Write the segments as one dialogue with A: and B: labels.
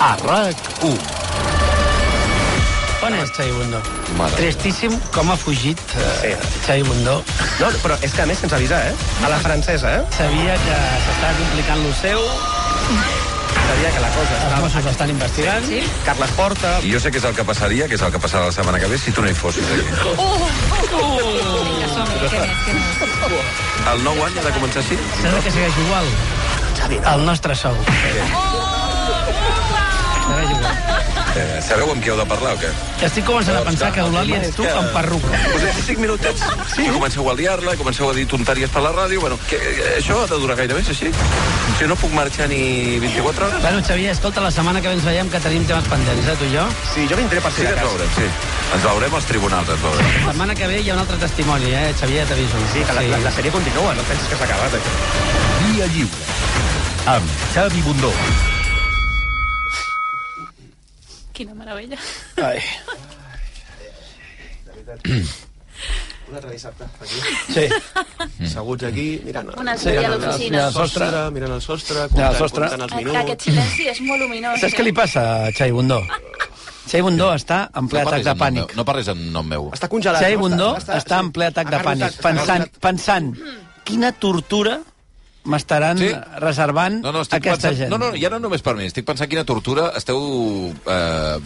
A: a RAC1.
B: On és Xavi Bundó?
A: Mare.
B: Tristíssim com ha fugit eh,
C: Sí.
B: Xavi Bundó.
C: No, però és que a més sense avisar, eh? A la francesa, eh?
B: Sabia que s'estava complicant lo seu,
C: Sabia que la
B: els
C: cosa estava...
B: Mossos l'estan investigant. Sí.
C: Carles Porta...
D: I jo sé què és el que passaria, que és el que passarà la setmana que ve si tu no hi fossis aquí.
E: Vinga, som-hi, què més, què
D: Eh,
E: més?
D: El nou any ha de començar així?
B: Sembla que segueix igual. Xavi, El nostre sou. Segueix igual.
D: Eh, sabeu amb qui heu de parlar o què?
B: Estic començant a pensar que Eulàlia ets tu amb perruca.
D: Posem 5 minutets sí. i comenceu a liar-la, i comenceu a dir tonteries per la ràdio. Bueno, que, que això ha de durar gaire més, així? Si no puc marxar ni 24 hores...
B: Bueno, Xavier, escolta, la setmana que ve ens veiem que tenim temes pendents, eh, tu i jo.
C: Sí, jo vindré per
D: Sí,
C: si de
D: ens
C: cas.
D: veurem, sí. Ens veurem als tribunals, ens veurem.
B: La setmana que ve hi ha un altre testimoni, eh, Xavier, t'aviso.
C: Sí, que la, la, la sèrie continua, no pensis que s'ha acabat, això.
A: Via lliure. Amb Xavi Bundó.
E: Quina meravella.
B: Ai.
C: Un altre dissabte, aquí.
B: Sí.
C: Seguts aquí, mirant...
E: Un altre dia a l'oficina.
B: Mirant el sostre.
C: mirant el sostre,
B: Mirant el sostre.
E: Que aquest silenci és molt luminós. eh?
B: Saps què li passa a Xavi Bundó? Xavi Bundó està en ple atac de pànic.
F: No parles en nom meu.
C: Està congelat.
B: Xavi
C: no?
B: Bundó està en ple atac de
C: Agarrotat,
B: pànic,
C: està
B: pensant,
C: agarrotat.
B: pensant quina tortura m'estaran
F: Sí?
B: reservant
F: No, no, estic
B: aquesta
F: pensant...
B: gent.
F: No, no, ja no només per mi. Estic pensant quina tortura esteu eh,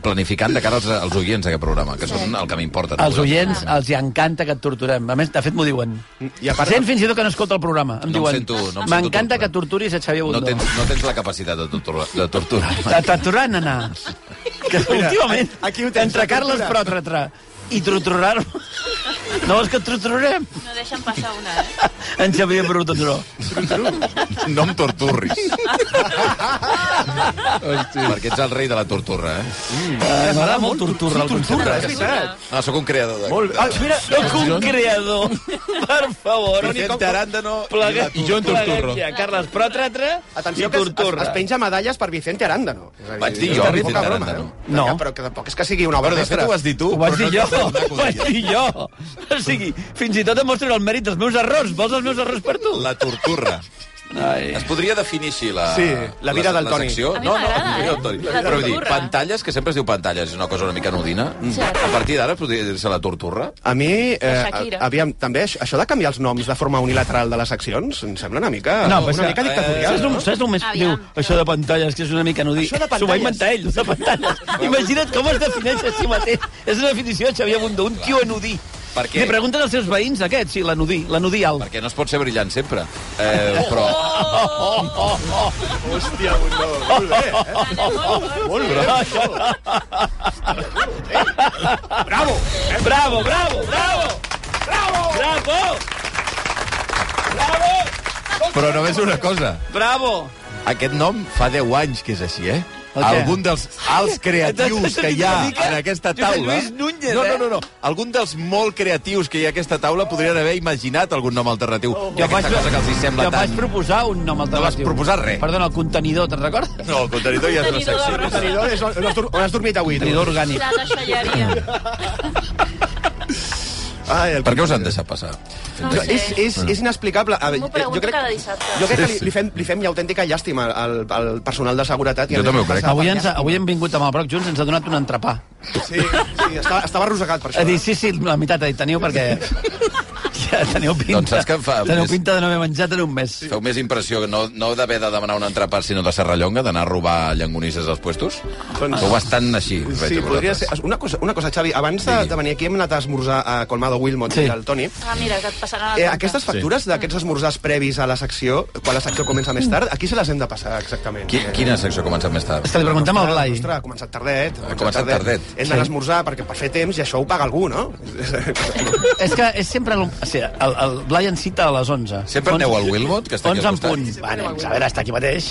F: planificant de cara als, als oients d'aquest programa, que són el que m'importa.
B: Els oients els hi encanta que et torturem. A més, de fet, m'ho diuen.
C: I a part-
B: Gent fins i tot que no escolta el programa. Em
F: No em
B: diuen,
F: sento- no em sento
B: m'encanta
F: torturat."
B: que torturis a Xavier
F: No
B: Bundó.
F: tens, no tens la capacitat de, tortura, de torturar-me.
B: A torturar, nana. Que últimament,
C: aquí ho tens,
B: entre
C: la tortura.
B: Carles Protratra i torturar-me... No vols que et torturarem?
E: No deixen passar una, eh?
B: En Xavier Bruto, no.
F: No em torturris. Hosti. Perquè ets el rei de la tortura, eh?
B: M'agrada molt torturra, el concepte.
C: És veritat.
F: No, Ah, sóc un creador de...
C: Molt bé.
B: Ah, mira, sóc un creador. Per favor.
F: Vicent Arandano...
B: Plega,
F: I jo en torturro.
B: plegatge, Carles Protratra
C: Atenció,
B: i
C: que es, es,
B: torturra.
C: es penja medalles per Vicente Arándano. És a dir,
F: Vaig dir
C: és
F: jo,
C: poca
F: Vicente
C: broma,
F: Arándano.
C: eh?
B: No.
C: Que- Però que tampoc és que sigui una obra
F: Bueno, de fet,
C: mestra.
F: ho has dit tu,
B: Ho vaig dir
F: però
B: jo,
F: no
B: ho
C: eh?
B: vaig dir jo. O sigui, fins i tot em mostro el mèrit dels meus errors. Vols els meus errors per tu?
F: La torturra.
B: Ai.
F: Es podria definir així la...
C: Sí, la vida del Toni.
F: secció.
E: A mi
F: no, no,
E: m'agrada,
F: la vida
E: eh?
F: del Toni.
E: La
F: Però vull dir,
E: torturra.
F: pantalles, que sempre es diu pantalles, és una cosa una mica anodina.
E: Sí.
F: A partir d'ara es podria dir-se la torturra?
C: A mi, eh,
E: Shakira.
C: aviam, també, això- això de canviar els noms de forma unilateral de les seccions, em sembla una mica,
B: No,
C: no,
B: però és
C: una
B: que- eh,
F: eh,
C: mica dictatorial.
B: Saps,
C: no?
B: el, saps el més... Diu,
E: Aviam.
B: això de pantalles, que és una mica nudí.
C: Això de
B: S'ho va
C: pantalles.
B: inventar ell, de pantalles. Imagina't com es defineix a si mateix. És una definició de Xavier Bundó, un tio anudí.
F: Per què?
B: Li pregunten als seus veïns aquest, sí, l'anudí, l'anudí alt.
F: Perquè no es pot ser brillant sempre. Eh,
E: Oh!
F: però...
C: Hòstia, un no. Molt bé, eh? Molt bé.
B: Bravo! Bravo, bravo, bravo! Bravo! Bravo! Bravo!
F: Però només una cosa.
B: Bravo!
F: Aquest nom fa 10 anys que és així, eh?
B: El què?
F: Algun dels alts creatius que hi ha
B: Una mica
F: en aquesta
B: Josep
F: taula...
B: Lluís Núñez,
F: no,
B: eh?
F: no, no, no. Algun dels molt creatius que hi ha a aquesta taula podrien haver imaginat algun nom alternatiu. Jo aquesta cosa que els hi sembla
B: jo vaig
F: tan...
B: proposar un nom alternatiu.
F: vas proposar res.
B: Perdona, el contenidor, te'n recordes?
F: No, el contenidor ja és una
E: Contenidor de
F: secció.
E: brossa.
C: Tenidor, és on, on, has, dur- on has dormit avui? tu?
B: Contenidor orgànic.
E: La deixalleria.
C: Ai, el...
F: Per què us han deixat passar?
E: No
C: Jo,
E: ho sé.
C: és, és, és inexplicable. A,
E: M'ho pregunto cada dissabte.
C: Jo crec que li, li, fem, li fem ja autèntica llàstima al, al personal de seguretat. i
F: Jo
C: a més
F: també ho
C: passa
F: crec.
C: per
B: Avui, ens,
C: llàstima.
B: avui hem vingut amb el Broc junts, ens ha donat un entrepà.
C: Sí, sí, estava, estava arrossegat per
B: Ha
C: això. eh?
B: dit, sí, sí, la meitat ha dit, teniu perquè... Ja teniu pinta,
F: Doncs saps que em fa-
B: teniu
F: és-
B: pinta de no haver menjat en un mes.
F: Feu més impressió que no, no d'haver de demanar un entrepà, sinó de serrallonga, d'anar a robar llangonisses als puestos?
C: Doncs-
F: Sou bastant així, veig
C: Sí,
F: a
C: podria
F: vosaltres.
C: ser. Una cosa, una cosa Xavi, abans de, de venir aquí hem anat a esmorzar a Colmado Wilmot
B: Sí.
C: i al Toni.
E: Ah, mira, que et passaran
C: Eh,
E: la
C: aquestes factures
B: Mm.
C: d'aquests esmorzars previs a la secció, quan la secció comença més tard, aquí se les hem de passar exactament. eh?
F: Qui, quina secció comença més tard?
B: És que li preguntem al Blai.
C: Ostres, ha començat tardet.
F: Ha començat tardet.
C: Hem d'anar a esmorzar perquè per fer temps i això ho paga algú, no?
B: És que és sempre... El, o sigui, el, el Blai ens cita a les 11.
F: Sempre
B: Onze-
F: aneu al Wilmot, que està aquí
B: 11
F: al
B: en
F: costat?
B: punt. Va, anem, a veure, està aquí mateix.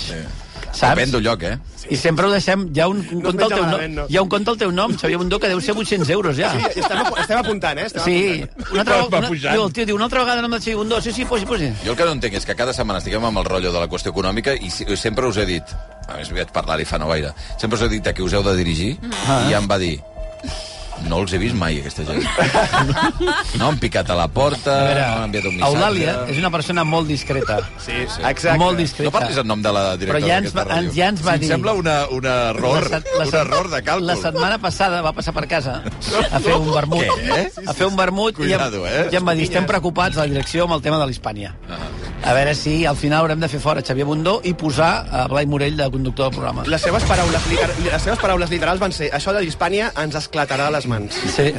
F: Depèn
B: Saps?
F: del lloc, eh?
B: I sempre ho deixem... Hi ha un, un
C: No
B: compte al
C: menja
B: teu nom,
C: malament, no.
B: hi ha un compte al teu nom, Xavier Bundó, que deu ser 800 euros, ja.
C: I estem, ap- estem apuntant, eh? Estem
B: Sí.
C: apuntant.
B: Una altra,
A: Va- va
B: una,
A: pujant.
B: diu, el tio diu, una altra vegada no em de Xavier Bundó. Sí, sí, posi, posi.
F: Jo el que no entenc és que cada setmana estiguem amb el rotllo de la qüestió econòmica i si- sempre us he dit, a més vaig parlar-hi fa no gaire, sempre us he dit a qui us heu de dirigir i ja em va dir No els he vist mai, aquesta gent. No han picat a la porta,
B: A veure,
F: no han enviat Ah, un missatge...
B: Eulàlia és una persona molt discreta.
C: Sí, sí. Exacte.
B: Molt discreta.
F: No parlis en nom de la directora
B: Però ja ens
F: d'aquesta
B: va-
F: ràdio.
B: ja ens va
F: Sí, em
B: dir-
F: sembla una, un error,
B: set-
F: un
B: set-
F: error de càlcul.
B: La setmana passada va passar per casa a fer un vermut.
F: Què?
B: A fer un vermut
F: Cuidado,
B: i,
F: eh?
B: em, i em va dir, estem preocupats a la direcció amb el tema de l'Hispània.
F: Ah,
B: A veure si al final haurem de fer fora Xavier Bundó i posar a Blai Morell de conductor del programa.
C: Les seves, paraules, liter- les seves paraules literals van ser això de l'Hispània ens esclatarà a les mans.
B: Sí.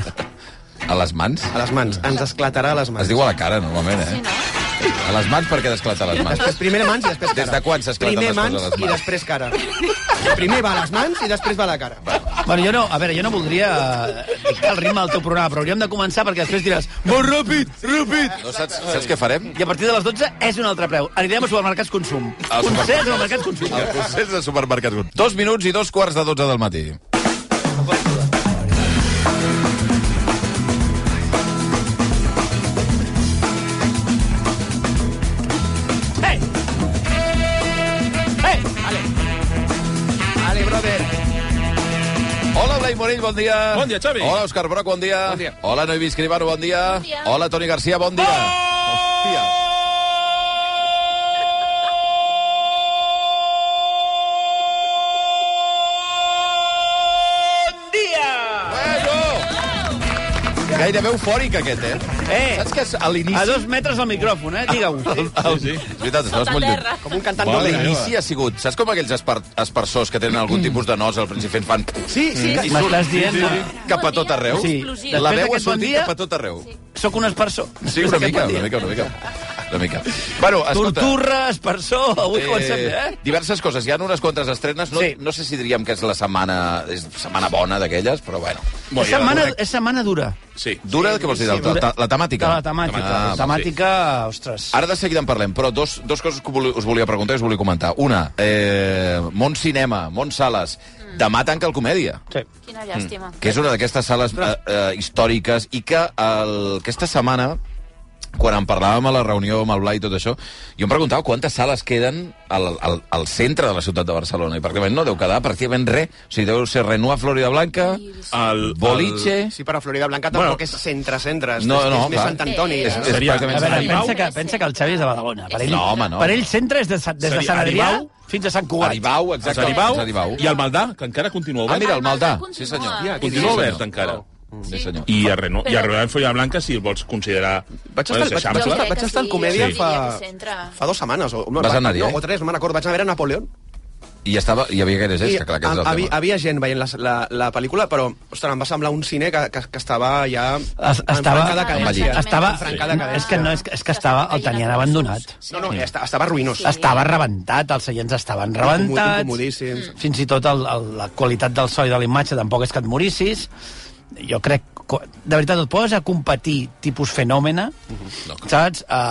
F: A les mans?
C: A les mans. Ens esclatarà a les mans.
F: Es diu a la cara, normalment, eh? A les mans perquè desclata les mans.
C: Després, primer mans i després cara.
F: Des de quan s'esclaten
C: Primer
F: les coses a les
C: i
F: mans?
C: després cara. Primer va a les mans i després va a la cara.
B: Bueno, jo no, a veure, jo no voldria eh, dictar el ritme del teu programa, però hauríem de començar perquè després diràs molt ràpid, ràpid.
F: No saps, saps què farem?
B: I a partir de les 12 és un altre preu. Anirem a supermercats consum.
F: Al
B: Consell
F: supermercat.
B: a supermercats consum.
F: El procés de supermercats. Dos minuts i dos quarts de dotze del matí.
B: Hey!
F: Ah.
B: Hey!
C: Ale, brother.
F: Hola, Blai Morell, bon dia.
A: Bon dia, Xavi.
F: Hola, Òscar Broc, bon dia.
C: Bon dia.
F: Hola, Noemí Escribano, bon dia. Bon
E: dia.
F: Hola, Toni Garcia, bon dia.
A: Oh!
F: Hòstia. Bueno! Eh, Gairebé eufòric, aquest, eh?
B: Eh!
F: Saps que a
B: A
F: l'inici...
B: dos metres del micròfon, eh?
F: Ah.
B: Digue-ho.
A: Sí, sí.
F: És veritat, estaves
E: Sota
F: molt lluny.
E: terra.
C: Com un cantant
F: Bueno,
C: doble.
F: l'inici ha sigut... Saps com aquells esper espersors que tenen algun tipus de nos al principi en fan...
C: Sí, sí.
F: I
B: M'estàs dient...
F: surt
B: Sí,
F: cap a tot arreu?
B: Sí.
E: Explosiu.
B: Després
F: La veu ha
B: d'aquest bon
F: sortit
B: dia-
F: cap a tot arreu.
B: Sóc un espersor.
F: Sí, una mica, una mica, una mica. Una mica. Bueno, escolta...
B: Torturra, espersor, avui comencem bé, eh?
F: diverses coses. Hi ha unes quantes estrenes. No,
B: Sí.
F: no sé si diríem que és la setmana, és setmana bona d'aquelles, però bueno.
B: És setmana, és setmana dura.
A: Sí.
F: Dura, què vols dir? La, la, la temàtica?
B: La temàtica.
F: Ah,
B: La temàtica, ostres.
F: Ara de seguida en parlem, però dos, dos coses que voli- us volia preguntar i us volia comentar. Una, eh, Mont Cinema, Mont Sales, demà tanca el Comèdia.
B: Sí.
E: Quina llàstima.
F: Mm. que és una d'aquestes sales eh, eh, històriques i que el, aquesta setmana quan en parlàvem a la reunió amb el Blai i tot això, jo em preguntava quantes sales queden al, al, al centre de la ciutat de Barcelona, i pràcticament no deu quedar pràcticament res. O sigui, deu ser Renua, Florida Blanca,
A: El,
F: Boliche...
C: Sí, per a Florida Blanca tampoc és centre-centre. és-
F: No, no,
C: és més
F: clar.
C: Sant
E: Eh,
C: Antoni. eh?
F: És, és
A: Seria-
F: pràcticament...
B: A veure,
A: Aribau?
B: pensa que, pensa que el Xavi és de Badalona. Per ell,
F: No, home, no.
B: Per ell centre és de, Sa- des de
A: Seria
B: Sant Adrià
A: Aribau?
B: fins a Sant Cugat.
F: Aribau,
A: Els
F: exacte.
A: Aribau,
F: Els Aribau.
A: i el Maldà, que encara continua
F: Ah,
A: obert. Ah,
F: mira, el Maldà.
E: Continua.
F: Sí, senyor.
E: Continua
A: continua
F: Sí,
A: obert,
F: senyor.
A: encara.
F: Sí, senyor.
A: I a Renault, i a
E: Però-
A: Renault Folla Blanca, si el vols considerar...
C: Vaig
A: Bueno,
C: estar,
A: és
C: vaig, vaig,
A: eixample.
C: estar, vaig estar en comèdia
E: Sí.
C: fa,
E: Centre.
C: fa dues setmanes. O, no,
F: Vas
C: va-
F: anar-hi,
C: no,
F: eh?
C: o tres, no me'n recordo. Vaig anar a veure Napoleón.
F: I ja estava, hi havia gaire gent,
C: I
F: que clar, aquest és
C: hi
F: el
C: havia,
F: tema.
C: havia gent veient la, la, la pel·lícula, però, ostres, em va semblar un cine que, que, que estava ja...
B: Es,
C: en
B: estava,
C: franca decadència.
F: Envellit.
B: estava,
E: En
C: franca decadència.
B: és que no, és, que- és que estava, el tenien abandonat.
E: Sí.
C: No, no, esta- estava ruïnós.
E: Sí.
B: Estava rebentat, els seients estaven rebentats. Mm.
C: Incomodíssims.
B: Fins i tot el, el, la qualitat del so i de la imatge tampoc és que et morissis. Jo crec... que- De veritat, et poses a competir tipus fenòmena, saps? A,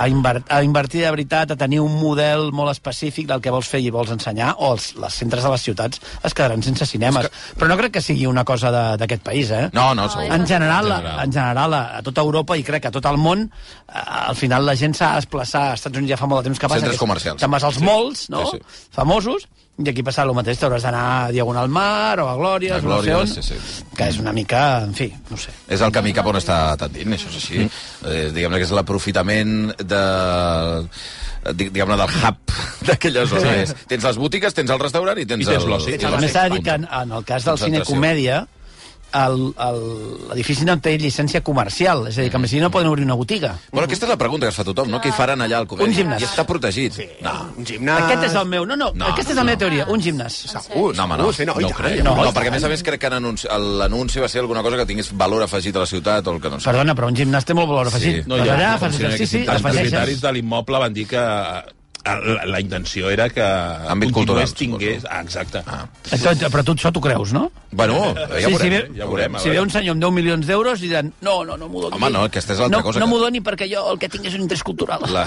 B: a, a, inver, a invertir de veritat, a tenir un model molt específic del que vols fer i vols ensenyar, o els, les centres de les ciutats es quedaran sense cinemes. Però no crec que sigui una cosa de- d'aquest país, eh?
F: No, no, segur.
B: En general,
F: En general.
B: en general, a, a tota Europa i crec que a tot el món, eh, al final la gent s'ha de desplaçar. Als Estats Units ja fa molt de temps que passa.
F: Centres
B: que
F: comercials.
B: Te'n vas als
F: Sí.
B: malls, no?
F: Sí,
B: Sí, sí. Famosos, i aquí passa el mateix. T'hauràs d'anar a Diagonal Mar o a Glòries,
F: A
B: o no sé on,
F: Glòries, sí, sí.
B: que és una mica, en fi, no sé.
F: És el camí cap on està tendint, això és així.
B: Mm.
F: Eh, diguem-ne que és l'aprofitament de di- diguem-ne del hub d'aquella zona. És, tens les botigues, tens el restaurant i tens,
A: I tens
F: el-
A: l'oci.
F: i
A: Sí,
B: A
F: l'oci.
B: més, s'ha de dir que en, en el cas del cine
F: Concentració.
B: comèdia, el- el- l'edifici no té llicència comercial, és a dir, que amb així no
F: Mm.
B: poden obrir una botiga.
F: Bueno, aquesta és la pregunta que es fa tothom, no? Què hi faran allà al Covell?
B: Un gimnàs.
F: I està protegit. Sí. No.
C: Un gimnàs...
B: Aquest és el meu... No, no,
F: No,
B: aquesta és la
F: no.
B: meva teoria, un gimnàs.
F: Uh, no, home, no.
C: Uh, sí, no, i
F: no,
C: tant,
F: crec.
C: i
F: no,
B: tant.
F: perquè a més a més crec que en anunci- l'anunci va ser alguna cosa que tingués valor afegit a la ciutat o el que no sé.
B: Perdona, però un gimnàs té molt valor afegit.
F: Sí.
B: No, ja, allà fas
F: funciona que
B: exercici,
F: sí, tant,
A: Els propietaris
B: afegeixes...
A: de l'immoble van dir que eh, la, la intenció era que
F: Àmbit cultural,
A: continués tingués... Ah, exacte.
F: Ah.
B: Eh, Tot, però tu això t'ho creus, no?
F: Bueno, ja
B: Sí,
F: veurem.
B: si ve,
A: ja veurem, a
B: si ve
A: veure.
B: un senyor amb 10 milions d'euros i diran no, no, no m'ho doni.
F: Home, no, aquesta és l'altra
B: no,
F: cosa
B: No
F: que-
B: m'ho doni perquè jo el que tinc és un interès cultural.
F: La,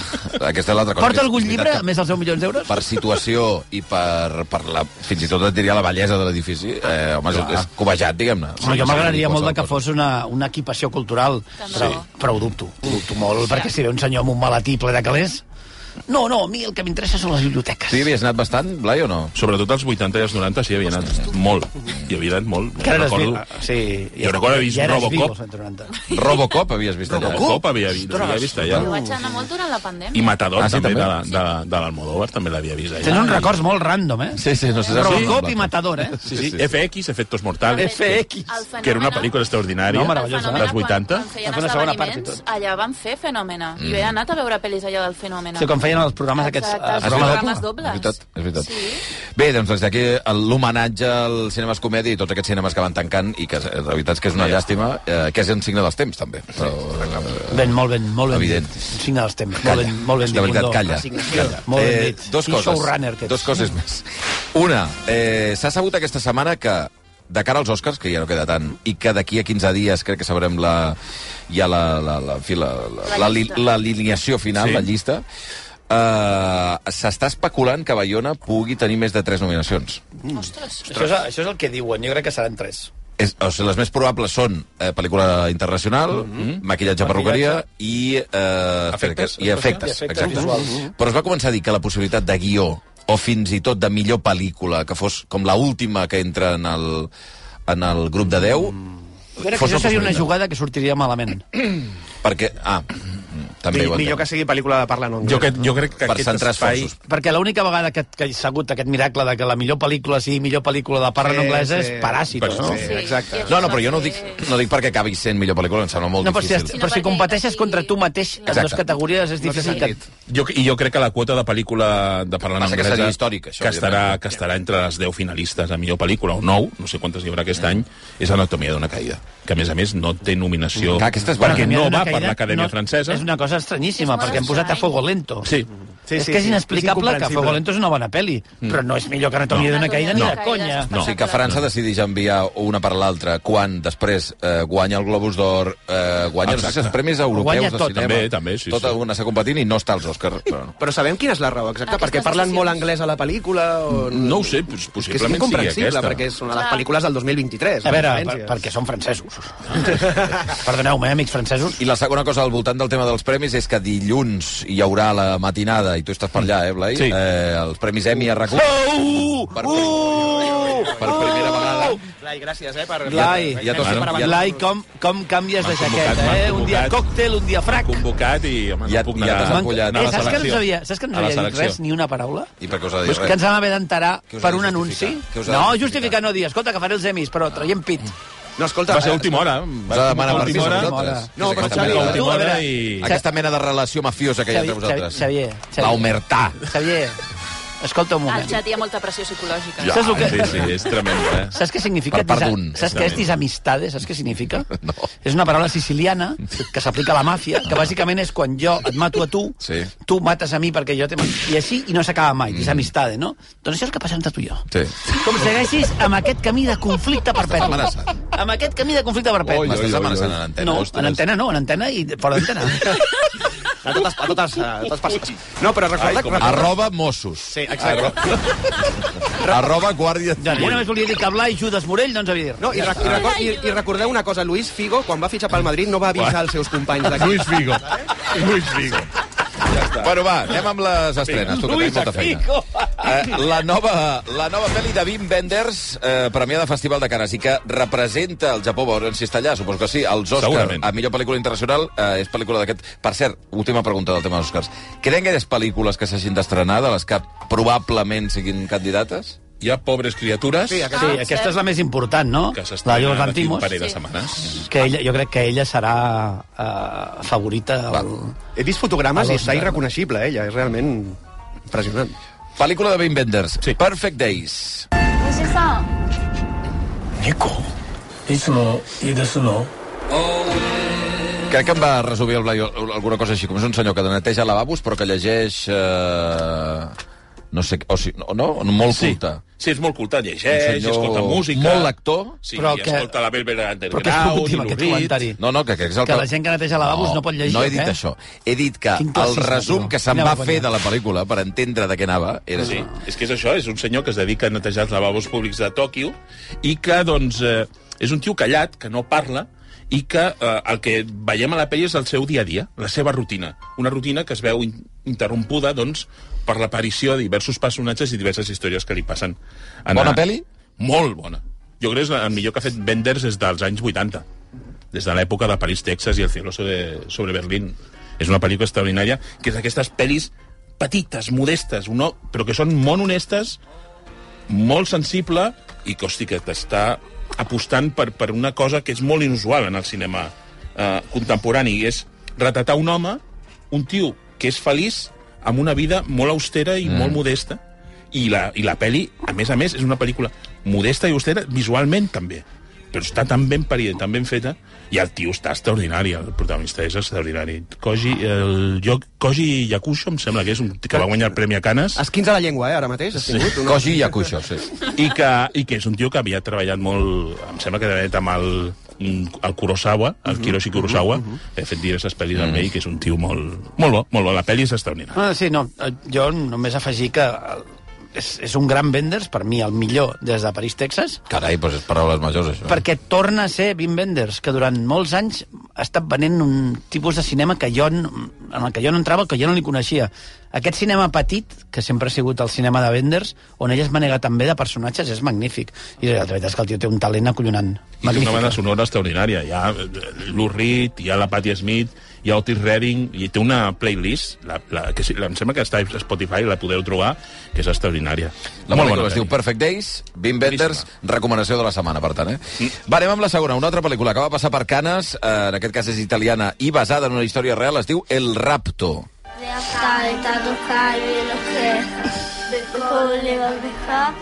F: aquesta és l'altra cosa.
B: Porta
F: que és-
B: algun
F: és veritat
B: llibre,
F: que-
B: a més dels 10 milions d'euros?
F: per situació i per, per la, fins i tot et diria la bellesa de l'edifici, eh, home, és, és cobejat, diguem-ne.
B: Home, jo m'agradaria molt de que
F: Qualsevol
B: fos una, una equipació cultural,
E: També.
B: però,
E: Sí.
B: però ho dubto. Ho dubto molt, perquè si ve un senyor amb un maletí ple de calés, No, no, a mi el que m'interessa són les biblioteques.
F: Tu hi havies anat bastant, Blai, o no?
G: Sobretot als 80 i als 90 sí, hi havia anat molt. Hi havia anat molt.
B: Que
G: Jo
B: ara eres
G: recordo...
B: viu. Sí,
G: Jo recordo haver vist
B: ja eres viu,
G: Robocop.
B: als 90.
F: Robocop havies vist allà.
G: El cop havia, vist- l'havia vist allà.
E: Ho vaig anar molt durant la pandèmia.
G: I Matador,
F: Ah, sí,
G: també,
F: també?
G: de, la- de, la- de l'Almodóvar, també l'havia vist allà.
B: Tenen uns records molt random, eh?
F: Sí, sí, no sé. si-
B: Robocop i Matador, eh?
G: Sí, sí, FX, Efectos Mortales, que
B: FX.
E: El
G: era una
E: fenomen-
G: pel·lícula extraordinària,
B: No,
E: El
B: meravellosa.
E: fenomen,
G: dels 80.
E: Quan, quan feien
B: Van fer una segona part i
E: esdeveniments,
B: tot.
E: allà van fer Fenomena. Mm. Jo he anat a veure pel·lis allò del Fenomena.
B: Sí, quan feien els programes aquests...
E: Exacte,
B: eh,
E: els
F: Ah,
E: programes,
B: programes
F: dobles.
E: dobles.
F: És veritat, és veritat.
E: Sí.
F: Bé, doncs des d'aquí el- l'homenatge al cinemes comèdia i tots aquests cinemes que van tancant i que eh, la veritat és que és una llàstima, eh, que és un signe dels temps, també. Però, eh,
B: Ben, molt ben, molt ben.
F: Evident.
B: dit. Un Signe dels temps.
F: Calla.
B: Molt ben, molt ben
F: de
B: dit,
F: veritat,
B: Bundó.
F: calla. calla. Eh,
B: Molt ben dit.
F: dos
B: Quin
F: coses.
B: showrunner que ets.
F: Dos coses més. Una, eh, s'ha sabut aquesta setmana que de cara als Oscars, que ja no queda tant, i que d'aquí a 15 dies crec que sabrem la, ja la, la, la, en fi, la, la, la,
E: La
F: li-
E: llista.
F: l'alineació final,
G: Sí.
F: la llista, eh, s'està especulant que Bayona pugui tenir més de 3 nominacions.
E: Ostres.
B: Això és, això és el que diuen, jo crec que seran tres.
F: És, o sigui, les més probables són eh, pel·lícula internacional, mm -hmm. maquillatge, perruqueria i, eh,
G: Efectes,
F: espera,
B: I
F: i efectes.
B: efectes
F: exacte. Mm-hmm.
B: visuals.
F: Però es va començar a dir que la possibilitat de guió o fins i tot de millor pel·lícula, que fos com la última que entra en el, en el grup de 10... Mm.
B: Jo crec que això seria una jugada que sortiria malament.
F: Perquè, ah, mm, també ho
C: Mi-
F: entenc.
C: Millor que sigui pel·lícula de parla no
G: Jo, que, jo crec que
F: Per
G: aquest
F: centrar
G: espai...
F: esforços.
B: Perquè l'única vegada que, que he sabut aquest miracle de que la millor pel·lícula sigui millor pel·lícula de parla
C: Sí,
B: sí, anglesa
C: sí.
B: és Paràsitos,
G: Però
B: no?
C: sí. exacte.
E: i això
F: No, no, però jo no ho
E: va
F: dic,
E: ser-
F: no dic perquè acabi sent millor pel·lícula, em sembla molt
B: No, però si,
F: difícil.
B: es- però si competeixes contra tu mateix en
F: Exacte.
B: dues categories és difícil que...
G: Jo, I jo crec que la quota de pel·lícula de parlant
F: Passa que
G: anglesa...
F: seria històric, això,
G: Que estarà,
F: evidentment.
G: que estarà entre les 10 finalistes a millor pel·lícula, o 9, no sé quantes hi haurà aquest any, és Anatomia d'una caïda, que a més a més no té nominació...
F: Clar, aquesta és bona.
G: perquè
B: Anatomia
G: no
B: d'una
G: va
B: caïda
G: per l'Acadèmia
B: no-
G: Francesa.
B: És una cosa estranyíssima,
E: És molt
B: perquè hem posat a
E: estrany.
B: Fuego Lento.
G: Sí.
B: Sí, sí, és que és inexplicable que Fuego Lento és una bona pel·li,
G: Mm.
B: però no és millor que Anatomia
E: No.
B: d'una caïda ni
E: No.
B: de conya.
G: No.
F: O sigui que França decideix enviar una per l'altra quan després eh, guanya el Globus d'Or, eh, guanya
G: Exacte.
F: Exacte. els premis europeus
B: Guanya
F: de
B: tot.
F: cinema.
G: També, també, sí,
F: Tota
G: sí.
F: una està competint i no està als Òscars. Però... no.
C: Però sabem quina és la raó exacta?
E: Aquestes
C: perquè parlen
E: decisions.
C: molt anglès a la pel·lícula? O...
G: No ho sé, pues,
C: És que és
G: possiblement sigui
C: incomprensible,
G: aquesta.
C: perquè és una de les
E: Clar.
C: pel·lícules del 2023.
B: A veure, per,
C: referències.
B: perquè són francesos. Perdoneu-me, eh, amics francesos.
F: I
G: Oh!
F: la segona cosa al voltant del tema dels premis és que dilluns hi haurà la matinada, i tu estàs per allà, eh, Blai?
G: Sí.
F: Eh, els premis Emmy a RAC1.
G: Uh,
F: Per, per primera vegada.
C: Blai, gràcies, eh, per...
B: Blai,
F: ja t'ho-
C: Gràcies
G: Bueno,
C: per avançar.
B: Blai, com, com canvies de
G: M'han convocat,
B: jaqueta, eh?
G: m'han
B: Un dia
G: convocat.
B: còctel, un dia frac.
G: Convocat i, home,
F: Ja-
G: no puc
F: ja
G: anar...
F: t'has
G: anar a
F: acollat.
G: la
B: Eh, saps que no
G: selecció.
B: ens havia, saps que
G: A
B: no ens
G: la
B: havia dit
G: selecció.
B: res, ni una paraula?
F: I per què us ha
B: Però
F: dit
B: és que ens
F: res?
B: vam haver d'enterar
F: Què us ha
B: per
F: de
B: un
F: justificar?
B: anunci.
F: Què us ha de
B: No,
F: justificar?
B: justificar no, dir, escolta, que faré els emis, però traiem pit.
C: No, escolta...
G: Va ser a
C: eh,
G: última hora.
F: Us ha de demanar
G: última
F: permís a
G: hora.
F: vosaltres.
C: No,
F: És
C: però
F: aquesta
C: Xavi,
F: mena de-
B: tu,
G: Última
B: a veure,
G: hora i...
F: eh? Aquesta mena de relació mafiosa que hi ha entre
B: Xavi-
F: vosaltres.
B: Xavier, Xavier.
F: La humertà.
B: Xavier, escolta un
E: Al
B: moment.
E: xat hi ha Ah, molta pressió psicològica.
G: Ja,
B: Saps el que-
G: sí, sí, és tremendo, eh?
B: Saps què significa?
F: Per part
B: disa-
F: d'un.
B: Saps què és disamistades? Saps què significa?
F: No.
B: És una paraula siciliana que s'aplica a la màfia, que bàsicament és quan jo et mato a tu,
F: Sí. Mm.
B: tu mates a mi perquè jo te mato. I així, i no s'acaba mai, disamistade, no? Doncs això és el que passa entre tu i jo.
F: Sí.
B: Com segueixis amb aquest camí de conflicte perpetu.
F: amenaçant.
B: Amb aquest camí de conflicte perpetu.
G: Oi, oi,
F: M'estàs
G: oi,
F: amenaçant
G: oi.
F: en antena.
B: No,
F: ostres.
B: en antena no, en antena i fora d'antena.
C: A totes, a totes, a totes persones. No, però recorda... recorda-
F: Arroba Mossos.
C: Sí, exacte.
F: Arroba Guàrdia
B: Doncs jo només volia dir que Blai Judas Morell no ens havia dit res.
C: No, i, record, i, record, i, i recordeu una cosa, Luis Figo, quan va fitxar pel Madrid, no va avisar els seus companys d'aquí.
G: Luis Figo. Luis Figo.
F: Bueno, va, anem amb les estrenes. Tu, que tens molta feina. Eh, la, nova, la nova pel·li de Wim Wenders, eh, premiada al Festival de Canes, i que representa el Japó, veurem si està allà, suposo que sí, als Oscars,
G: Segurament.
F: a millor pel·lícula internacional, eh, és pel·lícula d'aquest... Per cert, última pregunta del tema dels Oscars. Creen que hi ha pel·lícules que s'hagin d'estrenar, de les que probablement siguin candidates?
G: Hi ha pobres criatures
C: Sí,
B: Sí,
C: aquesta...
E: Ah,
B: aquesta és
E: cert.
B: la més important, no?
G: que
B: La
G: s'estan
B: Yolanda
G: aquí un
B: Antimos.
G: parell de
E: Sí.
G: setmanes.
B: Que ella, jo crec que ella serà eh, favorita. Al...
C: He vist fotogrames i està irreconeixible, ella. És realment impressionant.
F: Pel·lícula de Wim Wenders,
G: Sí.
F: Perfect Days.
H: 猫いつも家出すの
F: Crec que em va resumir el Blai alguna cosa així, com és un senyor que neteja lavabos però que llegeix... Eh, no sé, o si, no, no, molt
G: Sí.
F: culta.
G: Sí, és molt culte,
F: Un
G: llegeix,
F: senyor
G: escolta música...
F: molt lector.
G: Sí,
B: Però
G: i
B: que-
G: escolta la Velvet
B: Però que és
G: Underground,
B: últim, aquest
G: i l'Oblit.
B: comentari.
F: No, no, que, que és el
B: Que la gent que neteja lavabos no pot llegir,
F: No he dit
B: eh?
F: això. He dit que
B: Quin
F: el
B: classisme,
F: resum
B: tio.
F: que se'n
B: Quina
F: va
B: vergonya.
F: fer de la pel·lícula per entendre de què anava era
G: Sí,
F: així.
G: és que és això, és un senyor que es dedica a netejar els lavabos públics de Tòquio i que, doncs, eh, és un tio callat, que no parla, i que eh, el que veiem a la pel·li és el seu dia a dia, la seva rutina. Una rutina que es veu in interrompuda, doncs, per l'aparició de diversos personatges i diverses històries que li passen.
F: Bona pel·li?
G: Molt bona. Jo crec que és la- el millor que ha fet Benders des dels anys 80, des de l'època de París, Texas i El cielo sobre, sobre Berlín. És una pel·lícula extraordinària, que és d'aquestes pel·lis petites, modestes, no, però que són molt honestes, molt sensible i que, hosti, que t'està apostant per, per una cosa que és molt inusual en el cinema eh, contemporani, i és retratar un home, un tio que és feliç amb una vida molt austera i mm. molt modesta, i la, i la peli, a més a més, és una pel·lícula modesta i austera visualment també, però està tan ben parida i tan ben feta, i el tio està extraordinari, el protagonista és extraordinari. Koji, el, jo, Koji Yakusho, em sembla que és un que va guanyar el Premi a Canes
C: Esquins a la llengua, eh, ara mateix. Has tingut una...
F: Koji i Yakusho, sí.
G: i que, i que és un tio que havia treballat molt, em sembla que treballat amb el, el Kurosawa, el Kiroshi Kurosawa, he fet diverses pel·lis amb ell, que és un tio molt, molt bo, molt bo. La pel·li és extraordinària.
B: Ah, sí, no, eh, jo només afegir que eh, és, és un gran Benders, per mi el millor des de París, Texas,
F: Carai, doncs és paraules majors,
G: Ah.
F: això.
B: perquè torna a ser Wim Wenders, que durant molts anys ha estat venent un tipus de cinema que jo, n- en el que jo no entrava, que jo no li coneixia. Aquest cinema petit, que sempre ha sigut el cinema de Wenders, on ell es manega també de personatges, és magnífic. I la veritat és que el tio té un talent
G: I
B: acollonant.
G: té una banda
B: Magnífic.
G: sonora extraordinària. Hi ha eh, Lou Reed, hi ha la Patti Smith, hi ha Otis Redding, i té una playlist, la, la, que sí, la, em sembla que està a Spotify, la podeu trobar, que és extraordinària.
F: La
G: Molt
F: pel·lícula es diu
G: pel·li.
F: Perfect Days, Wim Wenders, recomanació de la setmana, per tant, eh? Va, anem amb la segona, una altra pel·lícula que va passar per Canes, eh, en aquest cas és italiana i basada en una història real, es diù El Rapto.
I: Salta, toccare l'occhiello, con le bambicà,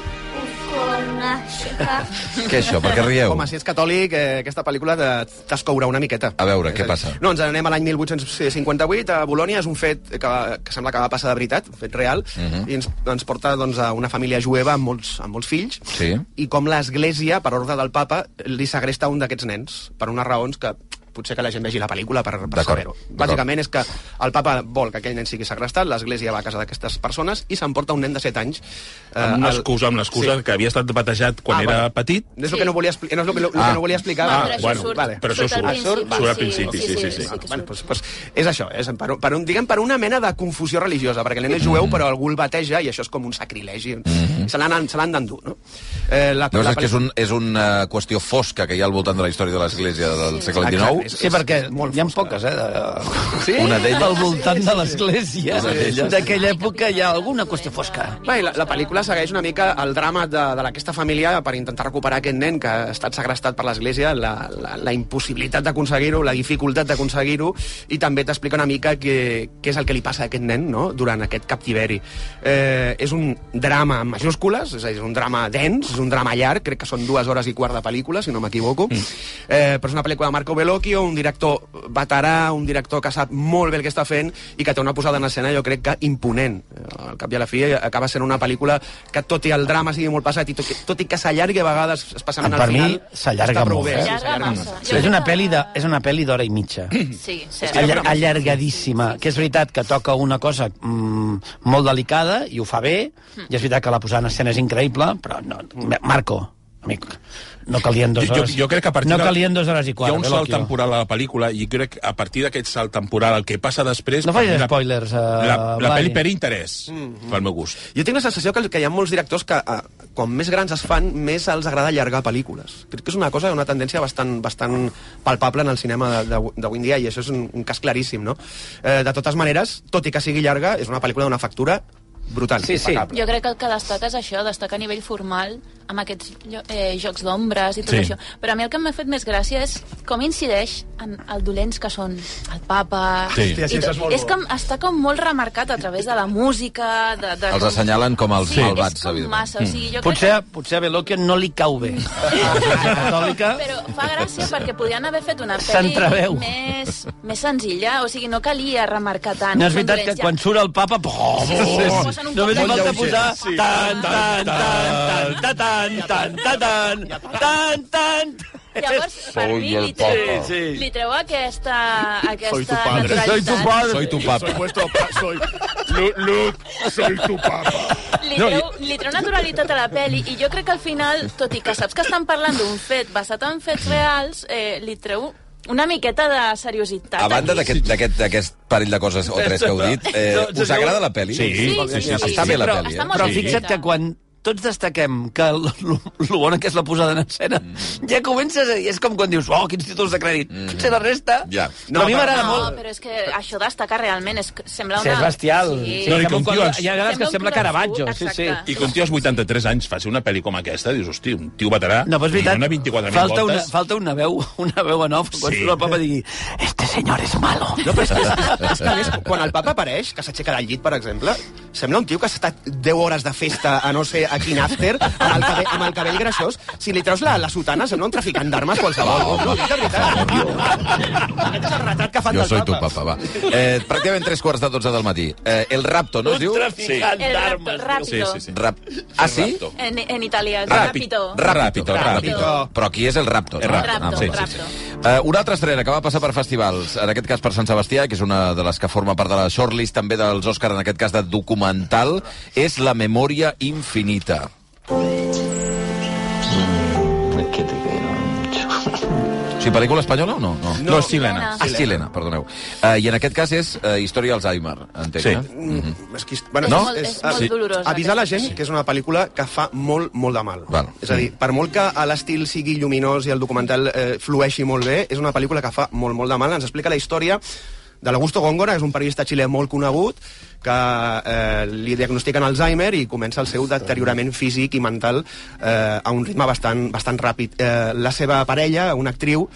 I: con nascita.
F: Què és això? Per què rieu?
C: Home, si ets catòlic, eh, aquesta pel·lícula te- t'escourà una miqueta.
F: A veure,
C: És
F: què
C: dir,
F: passa?
C: No, ens n'anem a l'any 1858, a Bolònia, és un fet que, va- que sembla que va passar de veritat, un fet real,
F: Mhm.
C: i ens, ens porta doncs, a una família jueva amb molts, amb molts fills,
F: Sí.
C: i com l'església, per ordre del papa, li segresta un d'aquests nens, per unes raons que potser que la gent vegi la pel·lícula per, per
F: D'acord,
C: saber-ho.
F: d'acord.
C: Bàsicament és que el papa vol que aquell nen sigui segrestat, l'església va a casa d'aquestes persones i s'emporta un nen de 7 anys. eh,
G: Amb una
C: al-
G: excusa, amb l'excusa
C: Sí.
G: sí. que havia estat batejat quan
C: Ah,
G: ah, era
C: vale.
G: petit,
C: És el que no volia, expli- no és el que, el que no volia explicar.
E: Ah,
G: Ah,
E: però això
G: bueno,
E: surt,
G: vale. però això
E: surt, al
G: surt.
E: principi,
G: Surt al
E: sí,
G: principi, sí, sí, sí.
E: sí, que
C: bueno,
E: surt.
C: doncs, doncs, és això, és per, un- per un, diguem per una mena de confusió religiosa, perquè el nen és jueu, però algú el bateja i això és com un sacrilegi. Se l'han se l'han d'endur, no? Eh, la,
F: Llavors és
C: pel·li-
F: que és, un, és una qüestió fosca que hi ha al voltant de la història de l'Església del segle
C: Exacte,
F: XIX.
B: Sí, perquè hi ha poques, eh? De... Sí? Una d'elles. Al voltant de l'església. D'aquella època hi ha alguna qüestió fosca.
C: Bé, i la, la pel·lícula segueix una mica el drama de, de aquesta família per intentar recuperar aquest nen que ha estat segrestat per l'Església, la, la, la impossibilitat d'aconseguir-ho, la dificultat d'aconseguir-ho, i també t'explica una mica què, què és el que li passa a aquest nen no? durant aquest captiveri. Eh, és un drama en majúscules, és a dir, és un drama dens, és un drama llarg, crec que són dues hores i quart de pel·lícula, si no m'equivoco,
B: Mm.
C: eh, però és una pel·lícula de Marco Bellocchio, un director veterà, un director que sap molt bé el que està fent i que té una posada en escena, jo crec que imponent. Eh, Al cap i a la fi acaba sent una pel·lícula que tot i el drama sigui molt passat i tot, i- tot i que s'allargui a vegades, especialment
B: Ah, Per
C: al
B: mi,
C: final...
B: s'allarga
C: està prou
B: molt,
C: bé,
B: eh?
C: sí,
E: Llarga
C: s'allarga
E: massa.
C: massa.
E: Jo
B: És una
E: crec que-
B: pel·li de- és una pel·li d'hora i mitja.
E: Sí, cert.
B: Allar allargadíssima, que és veritat que toca una cosa mm, molt delicada i ho fa bé, i és veritat que la posada en escena és increïble, però no, Marco, amic, no calien dues
G: Jo, jo,
B: hores.
G: jo crec que a partir
B: no
G: de-
B: calien dues hores i quart. eh,
G: Hi ha un salt
B: Bellocchio.
G: temporal a la pel·lícula i crec que a partir d'aquest salt temporal el que passa després...
B: No facis
G: per mi la-
B: spoilers, eh,
G: la, la
B: Blai.
G: pel·li per interès, mm. pel meu gust.
C: Jo tinc la sensació que, que hi ha molts directors que, eh, quan més grans es fan, més els agrada allargar pel·lícules. Crec que és una cosa, una tendència bastant, bastant palpable en el cinema de- de- d'avui en dia, i això és un, un cas claríssim, no? Eh, de totes maneres, tot i que sigui llarga, és una pel·lícula d'una factura brutal.
B: Sí, sí.
C: impecable.
E: Jo crec que el que destaca és això, destaca a nivell formal amb aquests llo- eh, jocs d'ombres i tot
G: Sí.
E: sí. això. Però a mi el que m'ha fet més gràcia és com incideix en el dolents que són el papa...
G: Sí.
E: i
G: Hòstia,
C: sí,
E: tot.
C: això és molt
E: és com, està com molt remarcat a través de la música... De, de
F: Els assenyalen com els
E: sí,
F: malvats,
E: és com
F: evidentment.
E: massa. O sigui, jo
B: Potser,
E: crec que...
B: potser a Bellocchio no li cau bé. Catòlica...
E: Però fa gràcia perquè podien haver fet una pel·li
B: S'entreveu.
E: més, més senzilla, o sigui, no calia remarcar tant.
B: No és
E: Són
B: veritat que
E: dolents, ja.
B: quan surt el papa... Oh, sí, sí,
E: sí.
B: sí. Només li
E: Molt
B: falta
E: lleuger.
B: posar... Tan, tan, tan, tan, tan, tan, tan, tan, tan,
E: Llavors, per mi, li treu, sí, sí. li treu aquesta, aquesta naturalitat.
F: Soy tu padre. Soy tu papa.
E: Li, treu, li treu naturalitat a la peli i jo crec que al final, tot i que saps que estan parlant d'un fet basat en fets reals, eh, li treu Una miqueta de seriositat.
F: A banda
E: aquí.
F: d'aquest- d'aquest d'aquest parell de coses o tres que heu dit, eh,
B: No,
F: us agrada la pel·li?
G: Sí, sí, sí. sí, sí.
F: Està bé la
B: però-
F: pel·li,
E: està
F: eh?
E: molt
B: Però
E: Sí.
B: fixa't que quan tots destaquem que el, lo, lo bona que és la posada en escena, mm. ja comences a dir, és com quan dius, oh, quins títols de crèdit. Mm. Potser la resta...
F: Ja.
B: No, però a mi m'agrada
E: No,
B: molt...
E: però és que això destacar realment és, que sembla
B: Sí,
E: una...
B: és bestial.
E: Sí.
G: No, i
B: sembla
G: com
B: un quadre-
G: dius-
B: hi ha vegades que sembla
E: un
B: Caravaggio,
E: culassut,
B: sí, sí.
E: exacte.
G: I com tio als 83 anys fa una pel·li com aquesta, dius, hosti, un tio veterà...
B: No, però és veritat,
G: Una 24.000
B: falta, una,
G: voltes.
B: falta una veu, una veu en off, quan
G: Sí.
B: surt el papa digui este senyor és malo.
C: No, però és que, és que a més, quan el papa apareix, que s'aixeca del llit, per exemple, sembla un tio que s'ha estat 10 hores de festa a no sé a quin after, amb el cabell, amb el cabell greixós. Si li treus la, la sotana, sembla un traficant d'armes qualsevol.
F: Ah, Va,
C: no,
F: home.
C: dic de veritat. Aquest és el retrat que fan
F: Oh. Jo
C: del
F: soy tu
C: papa.
F: papa, va. Eh, pràcticament tres quarts de dotze del matí. Eh, el rapto, no es diu?
B: traficant
E: El rapto, ràpido.
G: Sí, sí, sí.
F: Rap... Ah, sí?
G: Rapto.
E: En, en italià, és
G: Ràpid.
E: ràpido.
F: Ràpido, ràpido.
C: Ràpido.
F: Però aquí és el rapto. no?
G: El rapto,
F: Ah,
E: sí,
F: val,
E: sí,
F: Eh, una altra estrena que va passar per festivals, en aquest cas per Sant Sebastià, que és una de les que forma part de la shortlist també dels Òscar, en aquest cas de documental, és La memòria infinita. O sigui, pel·lícula espanyola o no? No,
G: No, Silena.
F: Ah, és xilena, perdoneu. Uh, I en aquest cas és uh, Història d'Alzheimer, entenc,
G: Sí.
F: eh?
C: Mm, és que, bueno,
F: No?
E: És molt- és molt dolorosa,
C: Avisar Ah, la gent que és una pel·lícula que fa molt, molt de mal.
F: Val.
C: És a dir, per molt que a l'estil sigui lluminós i el documental eh, flueixi molt bé, és una pel·lícula que fa molt, molt de mal. Ens explica la història de l'Augusto Góngora, és un periodista xilè molt conegut, que eh, li diagnostiquen Alzheimer i comença el seu deteriorament físic i mental eh, a un ritme bastant, bastant ràpid. Eh, la seva parella, una actriu,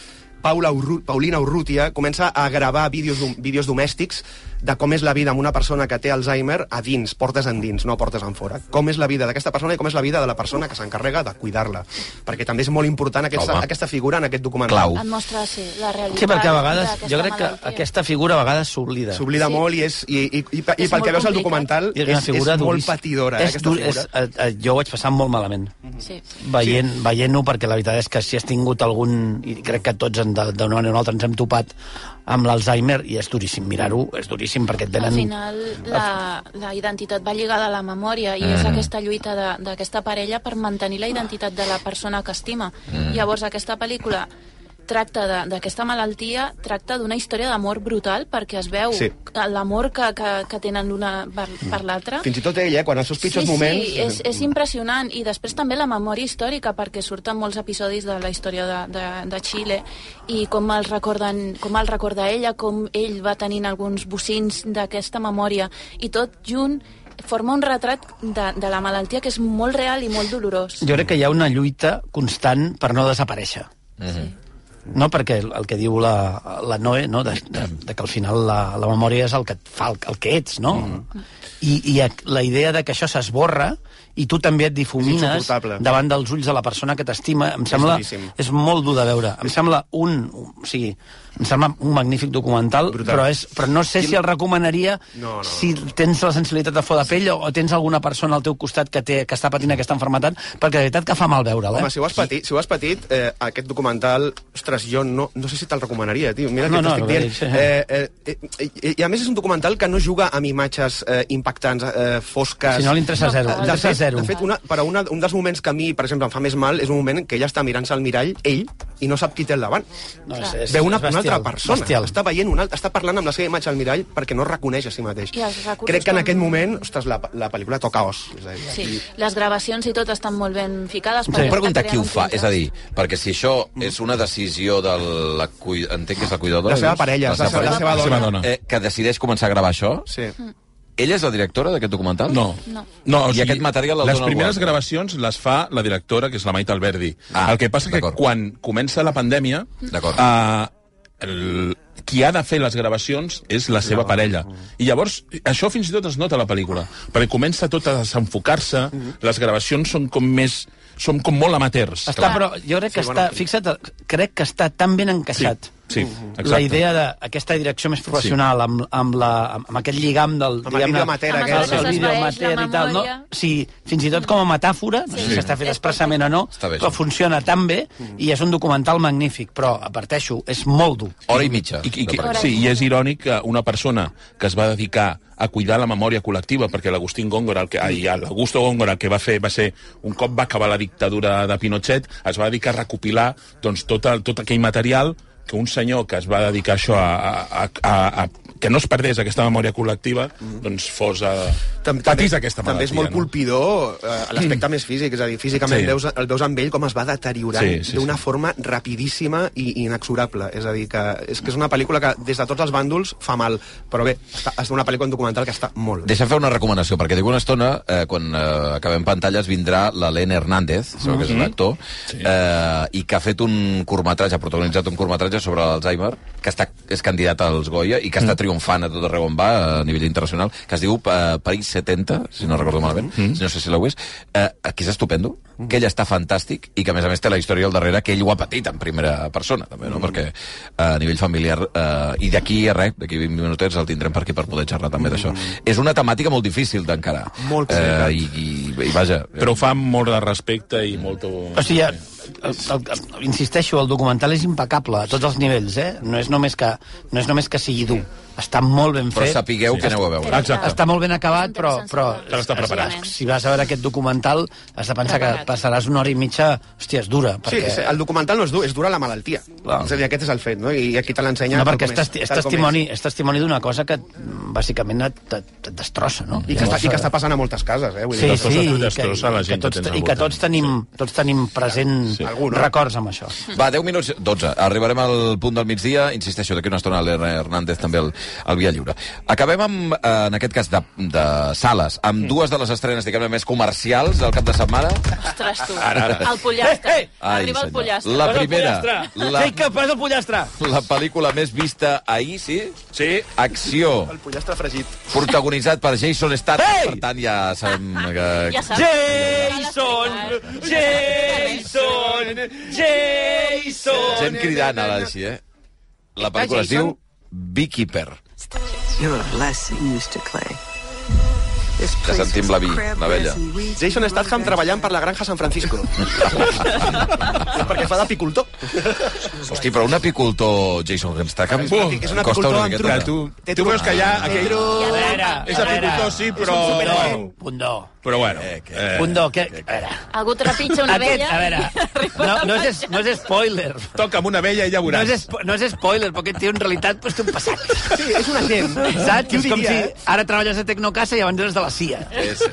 C: Paula Urru Paulina Urrutia comença a gravar vídeos, dom- vídeos domèstics de com és la vida amb una persona que té Alzheimer a dins, portes endins, no portes en fora. Com és la vida d'aquesta persona i com és la vida de la persona que s'encarrega de cuidar-la. Perquè també és molt important aquesta,
F: Home.
C: aquesta figura en aquest documental.
F: Clau.
E: Et mostra, sí, la realitat.
B: Sí, perquè a vegades,
E: d'aquesta
B: jo crec que
E: malaltia.
B: aquesta figura a vegades s'oblida.
C: S'oblida
E: Sí.
C: molt i, és, i, i, i, pe- i
E: És
C: pel
E: molt
C: que veus
E: complicat.
C: al documental
B: I una
C: és, és
B: figura
C: molt
B: duríssim.
C: patidora, eh,
B: És
C: aquesta
B: dur-
C: figura.
B: És, eh, eh, jo ho vaig passar molt malament.
E: Sí, sí.
B: Veient, sí. Veient-ho, perquè la veritat és que si has tingut algun... I crec que tots, en- de- d'una manera o una altra, ens hem topat amb l'Alzheimer, i és duríssim mirar-ho, és duríssim, perquè et
E: Al
B: venen...
E: final, la, la identitat va lligada a la memòria i
B: Mhm.
E: és aquesta lluita de- d'aquesta parella per mantenir la identitat de la persona que estima.
B: Mhm.
E: Llavors, aquesta pel·lícula tracta de- d'aquesta malaltia, tracta d'una història d'amor brutal, perquè es veu
C: Sí.
E: l'amor que, que, que tenen l'una per, per l'altra.
C: Fins i tot ell, eh, quan els seus pitjors
E: sí,
C: moments...
E: Sí, és, és impressionant. I després també la memòria històrica, perquè surten molts episodis de la història de, de, de Xile i com el, recorden, com el recorda ella, com ell va tenint alguns bocins d'aquesta memòria. I tot junt forma un retrat de, de la malaltia que és molt real i molt dolorós.
B: Jo crec que hi ha una lluita constant per no desaparèixer.
F: Mhm.
B: No, perquè el, el que diu la, la Noe, no? de, de, de que al final la, la memòria és el que et fa, el, el que ets, no?
C: Mm.
B: I, I ac- la idea de que això s'esborra i tu també et difumines
C: insuportable.
B: davant dels ulls de la persona que t'estima, em sembla...
C: duríssim.
B: És molt dur de veure. Em sembla un... O sigui, em sembla un magnífic documental,
C: Brutal.
B: però, és, però no sé si el recomanaria
C: No, no,
B: si tens la sensibilitat de flor de pell o, o tens alguna persona al teu costat que, té, que està patint aquesta enfermetat, perquè la veritat que fa mal veure'l, eh?
C: Home, si ho has patit, si ho has patit eh, aquest documental, ostres, jo no, no sé si te'l recomanaria, tio. Mira
B: No,
C: no,
B: no,
C: què
B: no,
C: t'estic dient.
B: sí.
C: Eh, eh, eh, i- I a més és un documental que no juga amb imatges eh, impactants, eh, fosques... Eh,
B: Si no, li interessa
E: No,
B: zero.
E: de
B: li
C: de
B: interessa
C: fet,
B: zero.
C: de fet una, però una, un dels moments que a mi, per exemple, em fa més mal és un moment que ella està mirant-se al mirall, ell, i no sap qui té al davant.
B: No, és- és-
C: Veu una,
B: és
C: una altra
B: bestial,
C: persona.
B: bestial.
C: Està veient una altra, està parlant amb la seva imatge al mirall perquè no es reconeix a si mateix.
E: I els recursos
C: Crec que en
E: com-
C: aquest moment, ostres, la, la pel·lícula toca os. És a dir,
E: Sí, les gravacions i tot estan molt ben ficades.
B: Sí.
E: perquè
F: Puc
E: està
F: preguntar qui ho
E: creant un
F: fa? És a
E: contrast.
F: dir, perquè si això és una decisió de la... Cui... Entenc que és la cuidadora.
C: La seva
F: dius?
C: parella, la seva- la seva
G: dona. La seva dona.
F: Eh, que decideix començar a gravar això?
C: Sí.
E: Mm.
F: Ella és la directora d'aquest documental?
G: No.
E: No.
G: no
F: I aquest material el
G: Les
F: dona el
G: primeres
F: Guarda.
G: gravacions les fa la directora, que és la Maite Alberdi.
F: Ah,
G: el que passa que
F: d'acord.
G: quan comença la pandèmia,
F: D'acord.
G: eh, el, qui ha de fer les gravacions és la
F: Ah.
G: seva parella. I llavors, això fins i tot es nota a la pel·lícula, perquè comença tot a desenfocar-se,
F: Mhm.
G: les gravacions són com més... Som com molt amateurs.
B: Està, però jo crec que
C: Sí,
B: està...
C: bueno.
B: Fixa't, crec que està tan ben encaixat.
G: Sí, sí, exacte.
B: Mhm. La idea d'aquesta direcció més professional, amb, amb, la, amb, amb aquest lligam del...
C: el
B: diguem-ne,
C: vídeo amateur
E: Amb
C: aquest.
E: el que
B: el
E: s'esvaeix,
B: vídeo
E: la
B: amateur i tal, no?
E: memòria.
B: O sigui, fins i tot com a metàfora, no sé si està fet
E: És
B: expressament o no,
F: Està bé,
B: però
F: sí.
B: funciona tan bé i és un documental magnífic, però, aparteixo, és molt dur.
F: Hora i mitja.
G: I, i,
F: de
G: i,
F: pel·lícula.
G: sí, i és irònic que una persona que es va dedicar a cuidar la memòria col·lectiva, perquè l'Agustín Góngora, el que, ai, l'Augusto Góngora, el que va fer va ser, un cop va acabar la dictadura de Pinochet, es va dedicar a recopilar doncs, tot, el, tot aquell material que un senyor que es va dedicar a això a, a, a, a, a que no es perdés aquesta memòria col·lectiva,
F: Mm-hmm.
G: doncs fos a...
C: Tam-
G: patís aquesta malaltia.
C: També és molt
G: no?
C: colpidor eh, a l'aspecte més físic, és a dir, físicament
G: Sí.
C: sí. veus, el veus amb ell com es va deteriorant
G: Sí, sí,
C: d'una
G: sí.
C: forma rapidíssima i, i inexorable. És a dir, que és, que és una pel·lícula que des de tots els bàndols fa mal, però bé, està, és una pel·lícula documental que està molt bé.
F: Deixa'm fer una recomanació, perquè d'aquí una estona, eh, quan eh, acabem pantalles, vindrà l'Helena Hernández, mm -hmm. que és un actor, sí. eh, i que ha fet un curtmetratge, ha protagonitzat un curtmetratge sobre l'Alzheimer, que està, és candidat als Goya i que està triomfant a tot arreu on va, a nivell internacional, que es diu eh, París 70, si no recordo malament, mm -hmm. no sé si l'ho és, eh, que és estupendo, mm -hmm. que ell està fantàstic i que, a més a més, té la història al darrere que ell ho ha patit en primera persona, també, no? Perquè eh, a nivell familiar... Eh, I d'aquí a res, d'aquí 20 minutets el tindrem per aquí per poder xerrar també d'això. És una temàtica molt difícil d'encarar.
C: Molt
F: eh,
C: complicat.
F: i, i, I vaja...
G: Però ho fa amb molt de respecte i molt...
B: O sigui, el, el, el, insisteixo, el documental és impecable a tots els nivells, eh? No és només que, no és només que sigui dur. Està molt ben
F: però
B: fet.
F: sapigueu sí. que aneu a veure.
G: Exacte.
B: Està molt ben acabat, però... però
G: Cal estar preparat.
B: si vas a veure aquest documental, has de pensar que
E: Preparat.
B: passaràs una hora i mitja... Hòstia, és dura,
C: Sí,
B: perquè...
C: és- el documental no és dur, és dura la malaltia.
F: Clar.
C: És a dir, aquest és el fet, no? I aquí te l'ensenya...
B: No,
C: tal
B: perquè
C: com
B: és, testi és
C: tal com
B: testimoni, és testimoni d'una cosa que, mm, bàsicament, et, et, et destrossa, no?
C: I que, està, I que
B: Llavors,
C: està passant a moltes cases, eh? Vull
B: Sí, sí,
C: dir,
G: destrossa-
B: i que,
G: destrossa la
B: i que
G: gent que
B: tots,
G: tens al
B: i que
G: voltant.
B: tots tenim, tots tenim present sí.
C: Algú, no?
B: records amb això.
F: Va, 10 minuts, 12. Arribarem al punt del migdia. Insisteixo, d'aquí una estona l'Elena Hernández també el, el Via Lliure. Acabem amb, eh, en aquest cas, de, de sales, amb dues de les estrenes, diguem-ne, més comercials del cap de setmana.
E: Ostres, tu.
G: Ara, ara.
E: El pollastre.
B: Eh, eh!
F: Ai,
E: Arriba el
F: senyor.
E: pollastre.
F: La primera,
B: La...
F: la,
B: Jacob, és el pollastre!
F: la pel·lícula més vista ahir, sí?
G: Sí.
F: Acció,
C: El pollastre fregit.
F: protagonitzat per Jason Statham.
B: Ei!
F: Per tant, ja sabem que...
E: Ja saps.
B: Jason! Jason! Jason!
F: Gent cridant ara, així, eh? La pel·lícula es diu Beekeeper.
J: You're a blessing, Mr. Clay.
F: Ja sentim la vi, la vella.
C: Jason Statham treballant per la granja San Francisco. perquè fa d'apicultor.
F: Hosti, però un apicultor Jason Statham
G: Bum!
C: És un apicultor amb
F: miqueta.
G: Clar, tu, tu veus que allà... Aquell...
B: A veure,
G: És
B: a veure.
G: apicultor, sí, però...
B: Pundó, pundó,
G: Però bueno.
F: Eh, que-
G: eh,
B: pundó, que... A veure,
E: Algú trepitja una
B: aquest,
E: vella.
B: a veure, no, no, és, no és spoiler,
G: Toca amb una vella i ja
B: no
G: veuràs.
B: és, spo- no és spoiler, perquè tio en realitat pues, té un passat.
C: Sí, és un agent.
B: Saps?
C: Qui ho
B: És com si
C: diria, eh?
B: ara treballes a Tecnocasa i abans eres de la CIA.
F: És,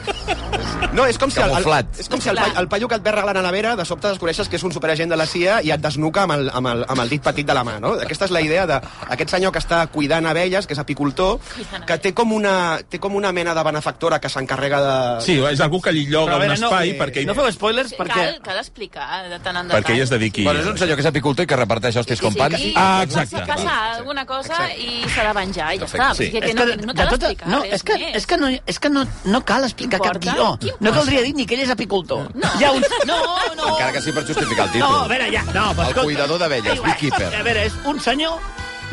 C: No, és com si, el, el,
F: Camuflat.
C: és com si el, pa- el paio que et ve arreglant a la vera, de sobte descobreixes que és un superagent de la CIA i et desnuca amb el, amb el, amb el dit petit de la mà, no? Aquesta és la idea d'aquest senyor que està cuidant abelles, que és apicultor, que té com una, té com una mena de benefactora que s'encarrega de...
G: Sí, és algú que li lloga
B: Però a
G: un
B: veure, no,
G: espai
C: eh,
G: perquè...
B: No feu spoilers perquè...
E: Cal, cal explicar eh, de tant en detall.
G: perquè ell es dediqui...
F: bueno, és un senyor que és apicultor i que reparteix hòsties com pans.
E: Sí, sí,
G: Ah,
E: passa-
G: exacte.
E: Passa alguna cosa i s'ha de venjar i ja
F: Perfecte.
E: està.
F: Sí.
E: Sí. Que, que no, no eh,
B: de
E: cal
B: tota-
E: explicar
B: no,
E: res
B: és que,
E: més.
B: és que, no, és que no, no cal explicar cap
E: Importa?
B: guió.
E: Qui
B: No caldria dir ni que ell és apicultor. No. Ja un... No, no.
F: Encara que sí per justificar
B: No,
F: el títol.
B: a veure, ja. No, però
F: El
B: escolta.
F: cuidador d'abelles,
B: Diu, eh,
F: beekeeper.
B: A veure, és un senyor,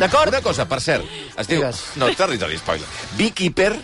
B: d'acord?
F: Una cosa, per cert, es diu...
B: Digues.
F: No, territori, spoiler. Beekeeper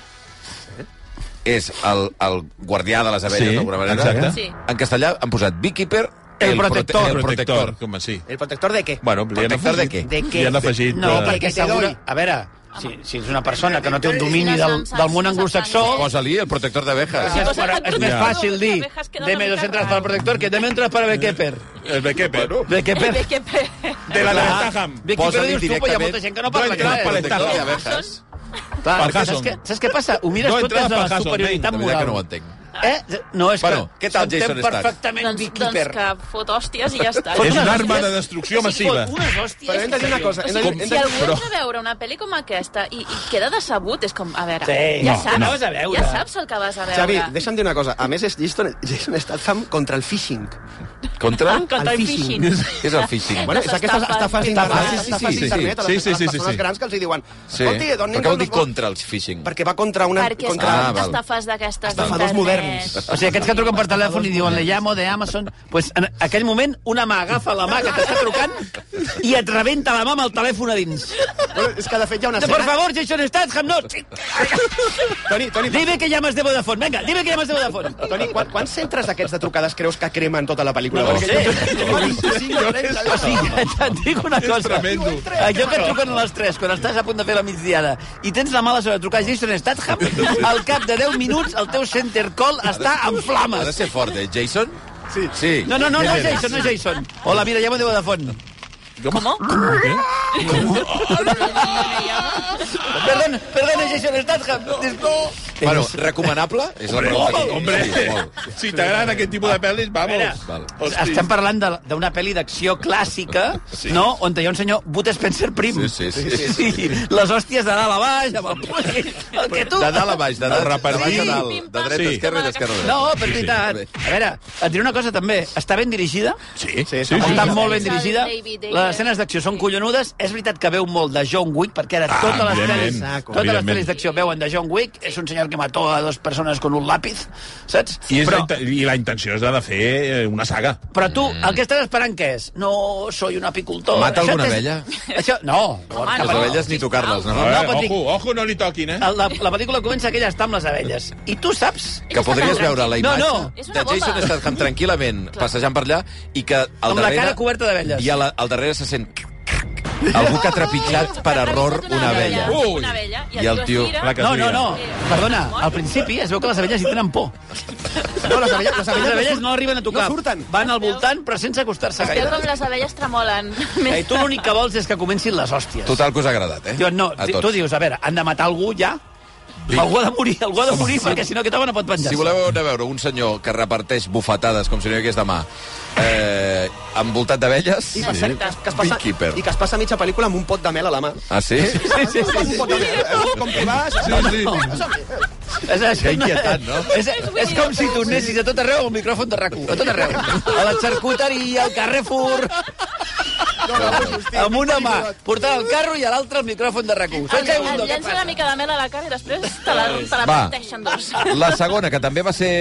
F: és el, el guardià de les abelles,
G: Sí,
F: d'alguna manera.
G: exacte.
E: Sí.
F: En castellà han posat Beekeeper...
B: El protector.
F: prote-
G: El
F: El protector.
G: protector, com així.
C: El protector de què?
G: Bueno, li han
F: Protector de
G: afegit...
F: què?
C: De què?
G: Li han afegit...
B: No,
G: eh,
B: perquè
C: Perquè te
B: segura...
C: doy.
B: A veure, si, si és una persona que no té un domini
E: Si no
B: del,
E: saps-
B: del món
E: si no saps
B: anglosaxó...
E: anglès.
F: Posa-li el protector d'abejas.
E: Sí,
B: És,
E: posa
B: però
E: el
B: és més
E: protector.
B: fàcil dir
E: Les abejas queden
B: deme
E: una
B: dos
E: mica
B: entres pel
E: raras.
B: protector que deme entres per beekeeper.
G: El Bequepe.
B: Beekeeper.
E: Bé, que pe...
G: De la Statham.
B: Beekeeper
F: Posa-li
B: dius tu, però hi ha molta gent que no parla
G: No entra per
B: anglès.
F: Protector
G: Statham.
F: d'abejas.
B: Clar,
G: Per
B: perquè
G: Hasson.
B: saps, què, saps què passa? Ho mires
G: No
B: no tu des
G: entrava
B: de
G: per
B: la
G: Hasson,
B: superioritat
F: De veritat
B: moral.
F: que no ho entenc.
B: Eh? No, és
F: Bueno,
B: que
F: què tal,
B: s'entén
F: Jason Statham?
B: perfectament
E: doncs, doncs
B: Beekeeper.
E: que fot hòsties i ja està.
G: És
B: Fot
G: una
B: unes
G: arma de
B: hòsties.
G: destrucció
B: Sí, fot
G: massiva.
B: Unes hòsties.
C: Però hem de dir una cosa. Hem de, hem
E: Si
C: de,
E: algú és de veure una pel·li com aquesta i, i queda decebut, és com, a veure,
B: Sí,
E: ja
B: no,
E: saps,
B: no. Anaves a veure.
E: ja saps el que vas a veure.
C: Xavi, deixa'm dir una cosa. A més, és Jason, Jason Statham contra el phishing.
F: Contra?
E: Ah, Contra el
C: phishing.
E: phishing.
F: És el phishing.
C: Bueno, és
E: Les
C: aquestes
E: estafes.
C: estafes
F: Ah,
C: d'internet,
F: sí, sí,
C: estafes
F: sí,
C: d'internet, a
G: sí,
C: les,
G: sí,
C: a les
G: sí,
C: persones
G: sí.
C: grans que els hi diuen
F: Sí.
C: escolti,
F: Per
C: donin
F: què vol dir
C: dos vots?"
F: contra el phishing?
C: Perquè va contra una...
E: Perquè és
C: contra...
E: que
F: Ah,
E: són
F: val.
E: estafes d'aquestes
C: Estafadors
E: d'internet.
C: moderns.
B: O sigui, aquests que truquen per telèfon i diuen le llamo de Amazon, pues en aquell moment una mà agafa la mà que t'està trucant i et rebenta la mà amb el telèfon a dins.
C: Bueno, és que de fet hi ha una
B: Por
C: escena...
B: favor, Jason Statham, no.
C: Toni, Toni,
B: Dime que llamas de Vodafone. Venga, dime que llamas de Vodafone.
C: Toni, quan, quants centres d'aquests de trucades creus que cremen tota la pel·lícula?
B: No
C: Perquè
B: ho
C: jo- jo- 25 o 30
B: O sigui, et dic una cosa.
G: tremendo.
B: Allò que et truquen a les 3, quan estàs a punt de fer la migdiada, i tens la mala sort de trucar a Jason Statham, al cap de 10 minuts el teu center call està en
F: Ha de
B: flames.
F: ser fort, eh, Jason? Sí. Sí.
B: No, no, no, no, Jason, no, Jason. Hola, mira, llamo de Vodafone.
E: ¿Cómo?
B: Perdona, perdona, Jason Statham.
F: Bueno, recomanable? És la pregunta. que-
G: Hombre,
F: Sí, molt. Ah,
G: si t'agraden aquest tipus de pel·lis, vamos.
F: Vale.
G: Hosti.
B: Estem parlant de- d'una pel·li d'acció clàssica, sí. no?, on hi ha un senyor Bud Spencer prim.
F: Sí, sí, sí, sí,
B: Les hòsties de dalt a baix, amb el puli, el que tu...
F: De dalt a baix, de, dalt, de
G: repartir.
F: baix a dalt, de dreta a
G: Sí.
F: esquerra i d'esquerra a dreta.
B: No, però és veritat. A veure, et diré una cosa també. Està ben dirigida,
G: Sí, sí,
B: sí, està
E: sí.
B: molt ben
E: Sí.
B: dirigida.
E: David Ayer.
B: Les escenes d'acció són collonudes. És veritat que veu molt de John Wick, perquè ara totes les pel·lis,
G: evidentment,
B: totes les
G: evidentment.
B: pel·lis d'acció veuen de John Wick. És un senyor que mató a dos persones con un lápiz, saps?
G: I, és
B: Però,
G: la, inte- I la intenció és la de fer eh, una saga.
B: però tu, el que estàs esperant què és? No, soy un apicultor.
F: Mata
B: Això
F: alguna
B: t'és-
F: abella?
B: Això, no.
E: Home,
F: Les
E: no.
F: abelles ni tocar-les,
G: No,
F: no?
G: eh,
B: Patrick.
G: ojo, ojo, no li toquin, eh?
B: La, la pel·lícula comença que ella està amb les abelles. I tu saps...
F: Que podries veure la
B: No,
F: imatge
B: no.
E: És
F: de
E: una bomba.
F: Jason Statham tranquil·lament passejant per allà i que al
B: Amb la
F: darrere...
B: cara coberta d'abelles.
F: I a la, al darrere se sent... Algú que ha trepitjat per error una abella.
G: abella. Ui.
E: tota Una abella. I
F: I el
E: el tio
F: tio-
E: es gira.
G: la que-
B: No, no, no. Perdona, al principi es veu que les abelles hi tenen por. No, les abelles, les abelles, no arriben a tocar.
C: No surten.
B: Van al voltant, però sense acostar-se
E: Es veu com
B: gaire.
E: les abelles tremolen.
B: I tu l'únic que vols és que comencin les hòsties.
F: Total, que us ha agradat, eh?
B: Diuen, no,
F: A
B: di-
F: tots.
B: tu dius, a veure, han de matar algú ja? Algú ha de morir, algú ha de morir, perquè si no aquest home no pot penjar.
F: Si voleu anar a veure un senyor que reparteix bufetades com si no hi hagués demà, eh, envoltat d'abelles...
E: Sí. Exacte.
C: Que es passa,
F: Beekeeper.
C: I que es passa mitja pel·lícula amb un pot de mel a la mà.
F: Ah, sí?
B: Sí, sí, sí.
C: Un pot de mel. eh? Com que vas... Sí,
B: És, això,
F: Que inquietant, no?
B: És, és com si tornessis a tot arreu amb el micròfon de rac A tot arreu. A la xarcuteria, al Carrefour... amb una mà, portant el carro i a l'altra el micròfon de rac
E: Et et llença una mica de mel a la cara i després te la, te la
F: Va.
E: parteixen dos.
F: La segona, que també va ser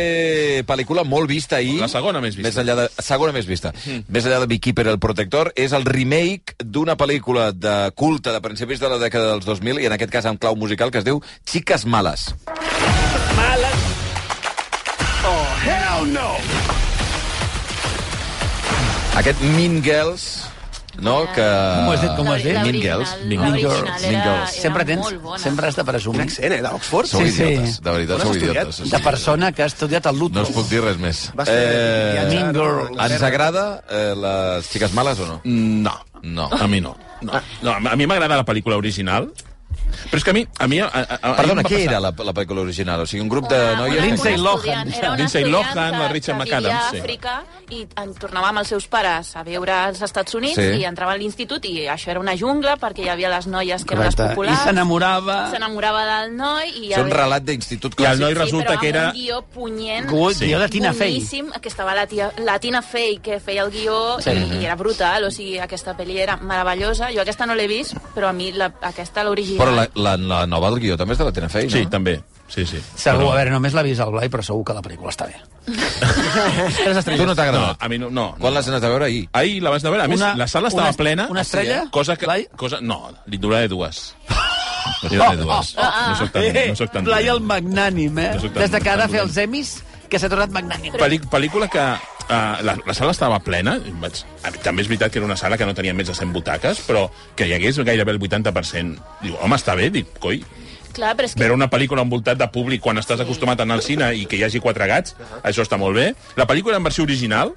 F: pel·lícula molt vista ahir.
G: La segona més vista. Mhm.
F: Més enllà de, segona més vista. Més enllà de Beekeeper, el protector, és el remake d'una pel·lícula de culte de principis de la dècada dels 2000, i en aquest cas amb clau musical, que es diu Chiques Males. Aquest Mean Girls, no?, que...
B: Com ho has dit, com ho has dit?
E: La
F: Mean
E: original-
F: Girls.
E: la
B: Mean
E: original
B: Girls.
E: era-
F: Mean Girls.
E: era
B: Sempre tens,
E: molt bona.
B: sempre has de
C: Un
B: presumir
C: accent, eh, d'Oxford?
F: Sou
B: Sí, sí.
F: idiotes, de veritat,
C: On has
F: sou eh,
C: estudiat?
F: idiotes.
B: de persona que ha estudiat el luto.
F: No us puc dir res més.
C: Va ser viatjar
B: Mean
C: a
B: Girls.
C: la
F: ens
C: guerra.
F: agrada eh, les xiques males o no?
G: No.
F: No.
G: A mi no. No, no a mi m'agrada la pel·lícula original, però és que a mi... A mi a, a, a, a
F: Perdona,
G: mi em va
F: què
G: passar-
F: era la, la pel·lícula original? O sigui, un grup de
E: Una-
F: noies...
E: una-
B: Lindsay
E: una
B: Lohan.
E: estudiant- era una
G: Lindsay
E: estudiant
G: Lohan,
E: que-
G: la Rachel
E: que
G: McAdams,
E: vivia a
G: sí.
E: Àfrica i en tornava amb els seus pares a viure als Estats Units
F: Sí.
E: i entrava a l'institut i això era una jungla perquè hi havia les noies que eren les
B: Correcte. I
E: populars.
B: s'enamorava...
E: S'enamorava del noi i...
F: És un relat
G: I
F: d'institut
G: el
F: clàssic.
G: noi resulta
E: però
G: que era...
E: Amb un guió punyent.
B: Good, Sí. guió de Tina Fey.
E: boníssim, que estava la, tia, la Tina Fey que feia el guió
B: Sí.
E: sí. i, i era brutal, o sigui, aquesta pel·li era meravellosa. Jo aquesta no l'he vist, però a mi la, aquesta, l'original...
F: Però la, la, la nova del guió també és de la Tina Fey, no?
G: Sí, també. Sí, sí.
B: Segur,
G: Però-
B: a veure, només l'ha vist el Blai, però segur que la pel·lícula està bé. Tres estrelles.
F: Tu no t'ha
G: No,
F: agradat?
G: a mi no. no.
F: Quan l'has anat a veure ahir?
G: Ahir la vas anar a veure. A més,
B: Una-
G: la sala estava
B: una-
G: plena. eh?
B: una estrella?
G: Cosa que...
B: Blai?
G: Cosa, no, li duraré dues. Li duraré dues. No soc tan... No soc tan
B: Ah, Eh, Blai el magnànim, eh?
G: No soc tan-
B: Des de que ha de
G: tan
B: fer
G: dolent.
B: els emis, que s'ha tornat magnànim.
G: Pel·li, pel·lícula que... Uh, la, la sala estava plena, i em vaig, a- també és veritat que era una sala que no tenia més de 100 butaques, però que hi hagués gairebé el 80%. Diu, home, està bé, dic, coi,
E: Clar, però és que...
G: veure una pel·lícula envoltat de públic quan estàs acostumat a anar al cine i que hi hagi quatre gats, això està molt bé. La pel·lícula en versió original,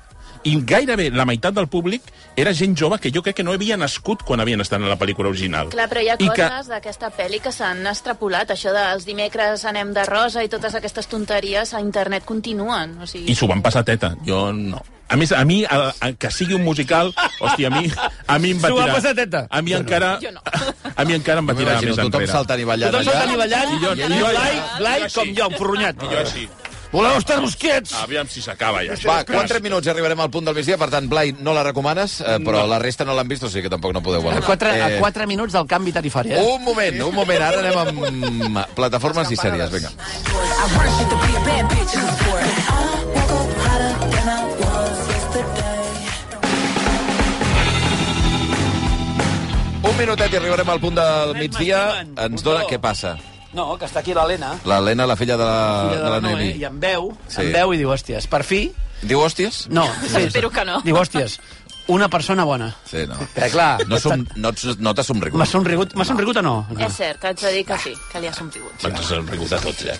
G: i gairebé la meitat del públic era gent jove que jo crec que no havia nascut quan havien estat en la pel·lícula original.
E: Clar, però hi ha
G: I que-
E: coses d'aquesta pel·li que s'han extrapolat. Això dels dimecres anem de rosa i totes aquestes tonteries a internet continuen. O sigui...
G: I s'ho van passar teta. Jo no. A més, a mi, a, a, que sigui un musical, hòstia, a mi, a mi em va
B: S'ho
G: tirar...
B: va passar teta?
G: A mi encara...
E: Jo no.
G: A mi encara em va tirar
F: M'imagino
G: més
F: tothom
G: enrere.
F: saltant i ballant
B: Tothom s'està
F: allà.
B: anivellant,
G: I jo-
B: i
G: i jo-
B: Blai, Blai
G: jo així.
B: com jo, enfurrunyat.
G: Jo Ah, així.
B: Voleu estar mosquets?
G: Aviam si s'acaba ja.
F: Va, 4 minuts i arribarem al punt del migdia, per tant, Blai, no la recomanes, eh, però la resta no l'han vist, o sigui que tampoc no podeu
B: A
F: veure.
B: 4,
G: eh.
B: a 4 minuts del canvi tarifari,
G: Oh!
B: eh?
F: Un moment, un moment, ara anem amb plataformes i sèries, vinga.
J: I worship to be a bad bitch in the sport. I woke up hotter than I was yesterday.
F: Un minutet i arribarem al punt del migdia. Ens dona què passa.
B: No, que està aquí l'Helena,
F: L'Helena, la filla
G: Ah,
F: de la,
B: filla
F: de la
B: Noé, eh? i
F: Noemi.
B: em veu,
F: Sí.
B: em veu i diu, hòsties, per fi...
F: Diu hòsties?
B: No, sí,
E: Espero que no.
B: Diu, hòsties, una persona bona.
F: Sí, no.
B: Però, Eh, clar,
F: No, som, no, ets- no t'has
B: m'ha
F: somrigut.
B: somrigut, m'ha somrigut o no?
E: És cert, haig de dir que sí, que li ha somrigut.
G: Ens han rigut a tots, ja.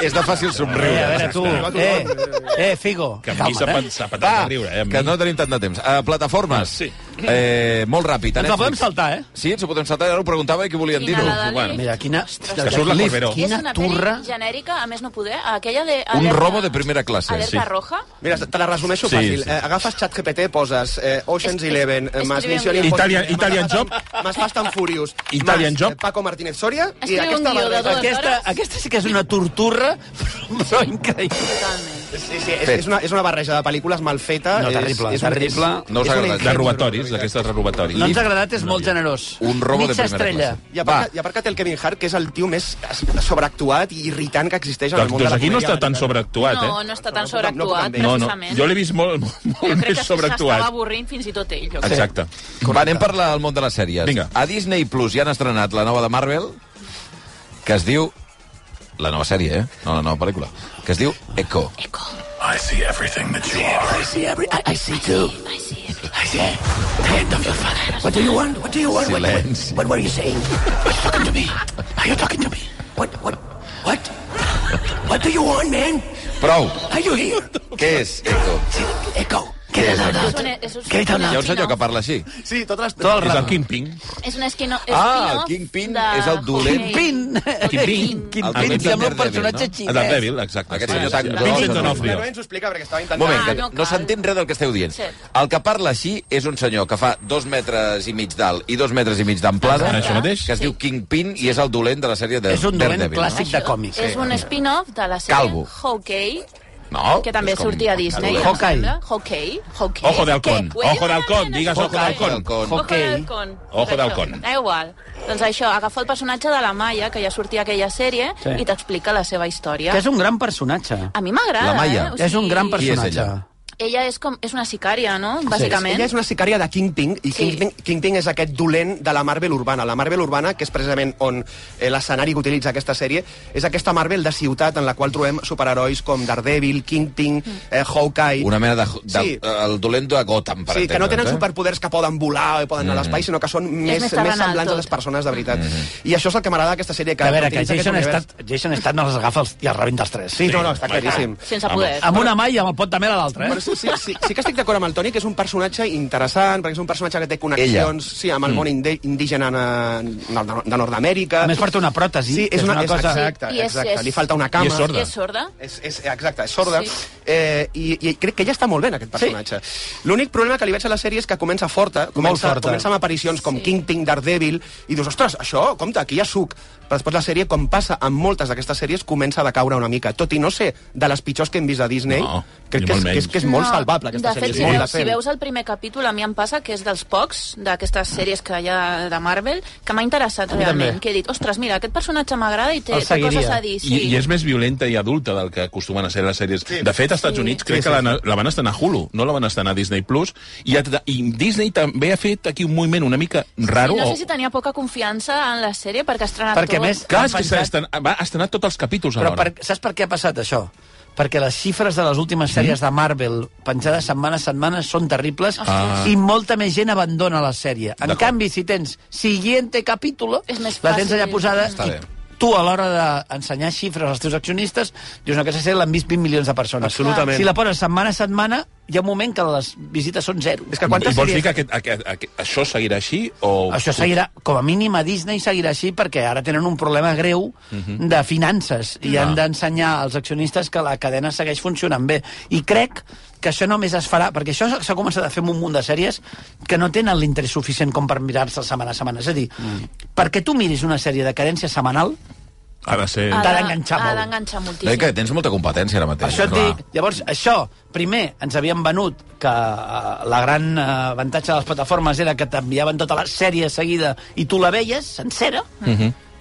F: és de fàcil
B: Eh, a
F: somriure.
B: veure, tu. Eh, eh Figo.
G: Que a mi s'ha
B: eh?
G: pensat
F: Va,
G: de riure, eh? a mi.
F: que no tenim tant de temps. Uh, plataformes.
G: Sí.
F: Eh, molt ràpid. a
B: Ens la
F: Netflix.
B: podem saltar, eh?
F: Sí, ens ho podem saltar, ara ho preguntava i què volien
E: Quina,
F: dir-ho.
E: la de
G: Bueno,
E: Leaf?
B: Mira, quina...
G: que surt la
B: Leaf,
G: Corberó.
E: és
B: Quina
E: una
B: turra...
E: peli genèrrica, a més no poder, aquella de...
F: Un
E: Alerta-
F: robo de primera classe,
E: Alerta
F: sí.
E: roja.
C: Mira, te la resumeixo
F: Sí,
C: fàcil.
F: sí.
C: Eh, agafes ChatGPT, poses eh,
E: Es-
C: Ocean's
E: es-
C: Eleven, eh,
E: escribe
C: más
E: un
C: Mission
E: guió.
G: Italian- Italian Job.
C: Más Fast and Furious.
G: Italian
C: más,
G: Job.
C: eh, Paco Martínez Soria.
E: Escribe un guió de
C: barreja-
E: dues
B: Aquesta,
E: hores.
B: aquesta sí que és una torturra, però increïble.
E: Totalment.
C: Sí, sí, és, és, una, és una barreja de pel·lícules mal feta.
B: No,
C: és-
B: terrible,
C: és un-
B: terrible.
C: és-
F: No us ha
C: és una
F: agradat.
G: De
C: ingenua
G: robatoris,
C: una mica.
G: d'aquestes de robatoris.
B: No ens ha agradat, és molt generós.
F: Un robo de
B: Mitja
F: primera
B: estrella.
F: classe.
C: I
F: Va.
C: aparcat, I aparcat el Kevin Hart, que és el tio més es- sobreactuat i irritant que existeix en el
G: Doncs,
C: món de
G: doncs
C: la
G: aquí no
C: comèdia
G: està tan
C: americana.
G: sobreactuat,
E: No,
G: eh?
E: no està tan
C: No, no, no,
E: sobreactuat,
G: No, no,
E: precisament.
G: jo l'he vist molt, molt,
E: Jo
G: molt
E: crec
G: més
E: que s'estava
G: sobreactuat.
E: avorrint fins i tot ell. Jo crec.
G: Exacte.
F: Va, anem per la, al món de les sèries.
G: Vinga.
F: A Disney Plus ja han estrenat la nova de Marvel, que es diu... La nova sèrie, eh? No, la nova pel·lícula. Que es diu Echo.
H: I see everything that you are.
F: Silenci. Prou. Què és Echo?
E: És un, és un, és
F: Hi ha un senyor que parla així.
C: Sí, totes les...
B: Tot el
G: És el
B: rato.
G: Kingpin.
E: És un esquino... és
F: Ah,
E: spin-off
F: Kingpin
E: de
F: és el dolent.
E: Jorge-
B: Pin!
G: Kingpin.
B: Kingpin, sembla un
F: El
B: eh?
F: Daredevil,
B: personatge
F: no?
G: El del
B: xinès.
G: Dèbil, exacte.
F: Aquest
G: sí,
F: senyor
G: sí,
F: tan
G: sí.
F: gros.
G: Vincent
F: No,
C: Però
G: D'Onofrio.
C: no ens ho explica, perquè estava
F: Un
C: intentant...
F: moment,
E: Ah,
F: que
E: no
F: no,
E: cal.
F: s'entén res del que esteu dient.
E: Sí.
F: El que parla així és un senyor que fa dos metres i mig d'alt i dos metres i mig d'amplada,
G: Exacte. Això mateix?
F: que es
E: Sí.
F: diu Kingpin i és el dolent de la sèrie de
B: És un dolent
F: Daredevil,
B: clàssic de còmics.
E: És un spin-off de la sèrie
F: Calvo.
E: Hawkeye,
F: No? no
E: que també
F: és com-
E: sortia a Disney.
F: Dolent.
E: em
B: Hawkeye.
E: sembla. Hawkeye. Hawkeye.
G: Ojo de halcón.
E: Que-
G: Ojo de halcón. Digues ojo de
F: Ojo de
G: halcón.
F: halcón.
E: Ojo
B: Hawkeye.
E: de halcón. Doncs
G: Ojo de
E: Això.
G: halcón.
E: Da igual. Doncs això, agafa el personatge de la Maya, que ja sortia a aquella sèrie,
B: Sí.
E: i t'explica la seva història.
B: Que és un gran personatge.
E: A mi m'agrada,
F: La Maya.
E: eh? Ah, O
B: És un gran
F: Qui és
B: personatge.
F: ella?
E: Ella és com... És una sicària, no? Bàsicament.
C: Ella és una sicària de Kingpin, i
E: Sí.
C: sí. Kingpin, Kingpin és aquest dolent de la Marvel urbana. La Marvel urbana, que és precisament on eh, l'escenari que utilitza aquesta sèrie, és aquesta Marvel de ciutat en la qual trobem superherois com Daredevil, Kingpin,
E: Mm.
C: eh, Hawkeye...
F: Una mena de, de eh,
C: Sí.
F: el dolent de Gotham, per
C: Sí, que no tenen
F: entendre's, eh?
C: superpoders que poden volar i poden anar a l'espai, sinó que són més,
E: més
C: més,
E: terrenal
C: semblants
E: tot.
C: a les persones de veritat. I això és el que m'agrada d'aquesta sèrie.
B: Que
C: Que
B: a veure, que
C: utilitza aquest
B: Jason
C: univers.
B: Stat, Jason Stat no els agafa els, i els rebenta els tres.
C: Sí, no, no, està claríssim.
E: Sense poder.
B: Amb una mà i amb el pot també a l'altra,
C: Però
B: eh?
C: sí, sí, sí, sí que estic d'acord amb el Toni, que és un personatge interessant, perquè és un personatge que té
F: Ella.
C: connexions sí, amb el món indi- indígena en, en, el- de Nord-Amèrica.
B: A més, porta una pròtesi,
C: Sí,
B: que
C: és una, és cosa... Exacte,
E: Sí, i és-
C: exacte.
E: és-
C: Li falta una cama.
G: I és sorda.
E: I és sorda.
C: És, és, exacte, és sorda.
E: Sí.
C: Sí. Eh, i, I crec que ja està molt bé, en aquest personatge. Sí. L'únic problema que li veig a la sèrie és que comença forta, comença,
B: forta.
C: comença amb aparicions com sí. Kingpin, Daredevil, i dius, ostres, això, compte, aquí hi ha suc. Però després la sèrie, com passa amb moltes d'aquestes sèries, comença a decaure una mica. Tot i no ser de les pitjors que hem vist a Disney,
G: No,
C: crec
G: ni
C: que és,
G: molt
C: que és, que és molt
E: No,
C: salvable, aquesta
E: de
C: sèrie.
E: fet,
C: és
E: si
C: molt
E: veus, si
C: decent.
E: veus el primer capítol, a mi em passa que és dels pocs d'aquestes sèries que hi ha de Marvel que m'ha interessat
B: mi
E: realment.
B: també.
E: Que he dit, ostres, mira, aquest personatge m'agrada i té,
B: El
E: té
B: seguiria.
E: coses a dir.
G: I,
E: Sí.
G: I és més violenta i adulta del que acostumen a ser les sèries. Sí. De fet, als Estats
E: Sí.
G: sí. Units crec sí, sí, que la, la van estrenar a Hulu, no la van estrenar a Disney+. Plus I, a, I Disney també ha fet aquí un moviment una mica raro.
E: I no
G: o-
E: sé si tenia poca confiança en la sèrie perquè ha estrenat
B: Perquè, a
E: tot.
B: més,
G: Clar, és que
B: han pensat-
G: s'ha estrenat, va estrenar tots els capítols
B: Però
G: alhora.
B: per, saps per què ha passat això? Perquè les xifres de les últimes sèries de Marvel penjades setmana a setmana són terribles ah. i molta més gent abandona la sèrie. En
G: D'acord.
B: canvi, si tens siguiente capítol,
E: És més
B: la tens
E: fàcil.
B: allà posada
F: Està
B: i
F: bé.
B: tu a l'hora d'ensenyar xifres als teus accionistes, dius, no, aquesta sèrie l'han vist 20 milions de persones.
C: Absolutament.
B: Si la poses setmana a setmana, hi ha un moment que les visites són zero.
C: És que quantes
G: I vols dir
C: sèries...
G: que aquest, aquest, aquest, això seguirà així? O...
B: Això seguirà, com a mínim a Disney seguirà així perquè ara tenen un problema greu de finances i han d'ensenyar als accionistes que la cadena segueix funcionant bé. I crec que això només es farà, perquè això s'ha començat a fer amb un munt de sèries que no tenen l'interès suficient com per mirar-se setmana a setmana. És a dir, perquè tu miris una sèrie de cadència setmanal,
G: Ha de ser...
E: Ha
B: t'ha
E: de-
B: d'enganxar
E: Ha
B: molt.
E: d'enganxar
F: No, i
E: moltíssim.
F: que tens molta competència ara mateix.
B: això et
F: clar.
B: dic, llavors, això, primer, ens havien venut que eh, la gran eh, avantatge de les plataformes era que t'enviaven tota la sèrie seguida i tu la veies sencera,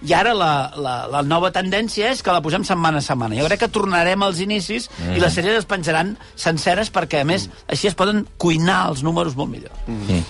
B: i ara la, la, la nova tendència és que la posem setmana a setmana. Jo crec que tornarem als inicis i les sèries es penjaran senceres perquè, a més, així es poden cuinar els números molt millor.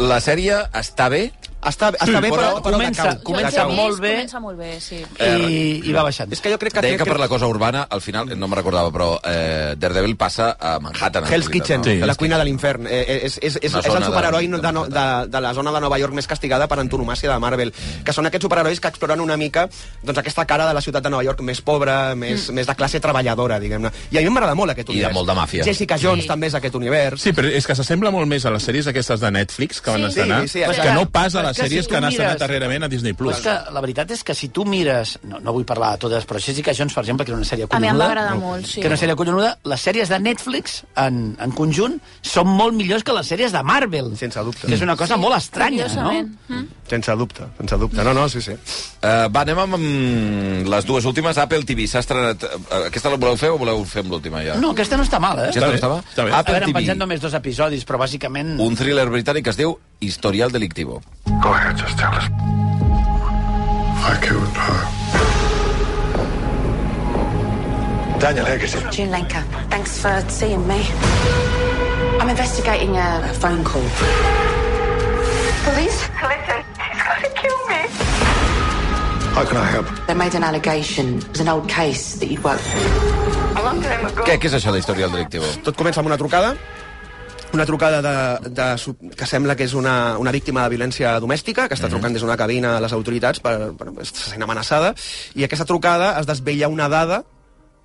F: La sèrie està bé?
C: Està, està bé, però, però
B: comença,
C: decau,
B: comença
C: decau.
B: molt bé
E: Comença molt bé, sí.
B: i, i va baixant.
C: És que jo crec que...
F: Deia que
C: crec-
F: per la cosa urbana, al final, no me'n recordava, però eh, Daredevil passa a Manhattan. en
C: Hell's
F: realitat,
C: Kitchen,
F: no?
C: sí,
F: Hell's
C: la cuina de
F: Kitchen.
C: l'infern. Eh, eh, és, és, és,
F: Una
C: és
F: zona
C: el
F: de-
C: superheroi de,
F: de
C: de, no- de,
F: Manhattan.
C: de la zona de Nova York més castigada per antonomàcia de Marvel, que són aquests superherois que exploren una mica doncs, aquesta cara de la ciutat de Nova York més pobra, més, mm. més de classe treballadora, diguem-ne. I a mi m'agrada molt
F: I
C: aquest
F: de
C: univers.
F: molt de màfia.
C: Jessica Jones sí. també és aquest univers.
G: Sí, però és que s'assembla molt més a les sèries aquestes de Netflix que van
C: Sí,
G: estrenar,
C: sí, sí,
G: que
C: exacte.
G: no pas a les
B: Que si
G: sèries
B: tu
G: que han
B: mires-
G: estrenat darrerament a Disney+.
B: Però
G: Plus.
B: és que la veritat és que si tu mires... No, no vull parlar de totes, però Jessica Jones, per exemple, que era una sèrie
E: A mi
B: collonuda...
E: em va agradar molt, sí.
B: Que era una sèrie collonuda. Les sèries de Netflix, en, en conjunt, són molt millors que les sèries de Marvel.
C: Sense dubte.
B: Que és una cosa molt estranya, no?
E: Curiosament. Mm.
C: Sense dubte, sense dubte. No, no, sí, sí.
F: Eh, va, anem amb mm, les dues últimes. Apple TV s'ha estrenat... eh, Aquesta la voleu fer o voleu fer amb l'última ja?
B: No, aquesta no està mal, eh?
G: Està
F: Aquesta
G: bé,
F: no estava?
G: està bé.
B: A
F: Apple
B: veure, han
F: TV,
B: penjat només dos episodis, però bàsicament...
F: un thriller britànic que es diu Historial Delictivo.
H: Go ahead, just tell us. I killed her.
D: Daniel Eggerson.
J: June Lenker, thanks for seeing me. I'm investigating a, a phone call. Police?
I: Listen, she's gonna kill me.
H: How can I help?
J: They made an allegation. It was an old case that you'd worked
I: A long time ago.
F: Què, què és això d'Historial Delictivo?
C: Tot comença amb una trucada una trucada de, de, su- que sembla que és una, una víctima de violència domèstica, que està trucant des d'una cabina a les autoritats per, per se sent amenaçada, i aquesta trucada es desvella una dada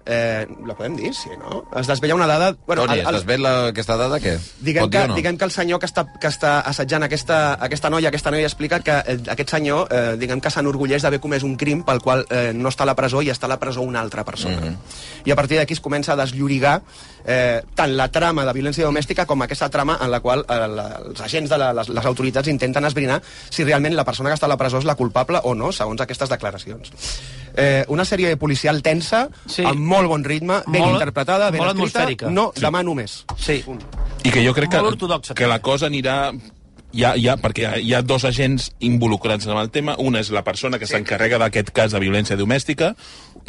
C: Eh, la podem dir, sí, no? Es desvella una dada...
F: Bueno, Toni,
C: el- el-
F: estàs veient la, aquesta dada? Què?
C: Diguem
F: Pot
C: que,
F: dir o no?
C: diguem que el senyor que està, que està assetjant aquesta, aquesta noia, aquesta noia explica que eh, aquest senyor, eh, diguem que s'enorgulleix d'haver comès un crim pel qual eh, no està a la presó i està a la presó una altra persona.
F: Mhm.
C: I a partir d'aquí es comença a desllorigar eh, tant la trama de violència domèstica com aquesta trama en la qual eh, la, els agents de la, les, les autoritats intenten esbrinar si realment la persona que està a la presó és la culpable o no, segons aquestes declaracions. Eh, una sèrie policial tensa,
B: Sí.
C: sí. amb molt bon ritme, ben
B: Molt-
C: interpretada, ben
B: molt
C: escrita.
B: atmosfèrica.
C: No, sí. demà només.
B: Sí.
G: I que jo crec
B: Molt
G: que,
B: ortodoxa,
G: que la
B: també.
G: cosa anirà... Hi ha, hi ha, perquè hi ha, hi ha dos agents involucrats en el tema. Una és la persona que s'encarrega d'aquest cas de violència domèstica,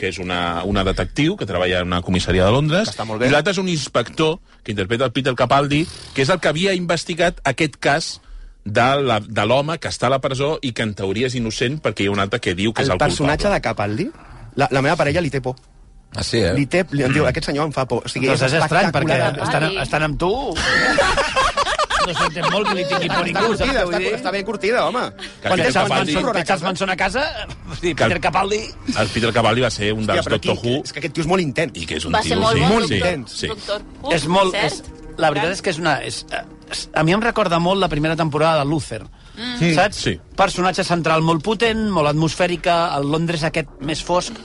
G: que és una, una detectiu que treballa en una comissaria de Londres.
C: Que està molt bé.
G: I l'altre és un inspector que interpreta el Peter Capaldi, que és el que havia investigat aquest cas de la- de l'home que està a la presó i que en teoria és innocent perquè hi ha un altre que diu que és
C: el
G: el
C: personatge
G: culpable.
C: de Capaldi, la, la meva parella li té por.
F: Ah, sí, eh?
C: Li té, li, em diu, aquest senyor em fa por. O sigui,
B: Doncs és estrany, perquè
C: espectacular.
B: estan,
E: Ai.
B: estan amb tu... No s'entén molt que li tingui por
C: Està
B: ningú, saps
C: curtida,
B: què vull
C: està,
B: dir?
C: està ben curtida, home.
G: Quan
B: Quan
G: Peter
B: tens
G: Capaldi-
B: el Manson,
C: Capaldi-
B: tens el Manson a casa, sí,
G: Cal-
B: Peter Capaldi...
G: El Peter Capaldi va ser un dels
C: Hòstia, però
G: Doctor
C: aquí,
G: Who
C: és que aquest tio és molt intens.
G: i que és un
E: Va
G: tio...
E: ser molt
G: sí,
E: bon,
G: sí,
E: doctor,
G: sí.
E: doctor. Who,
B: És molt... És,
E: cert?
B: la veritat és que és una... És, eh, és, a mi em recorda molt la primera temporada de Luther. Mm. Saps?
G: Sí.
B: Personatge central molt potent, molt atmosfèrica, el Londres aquest més fosc.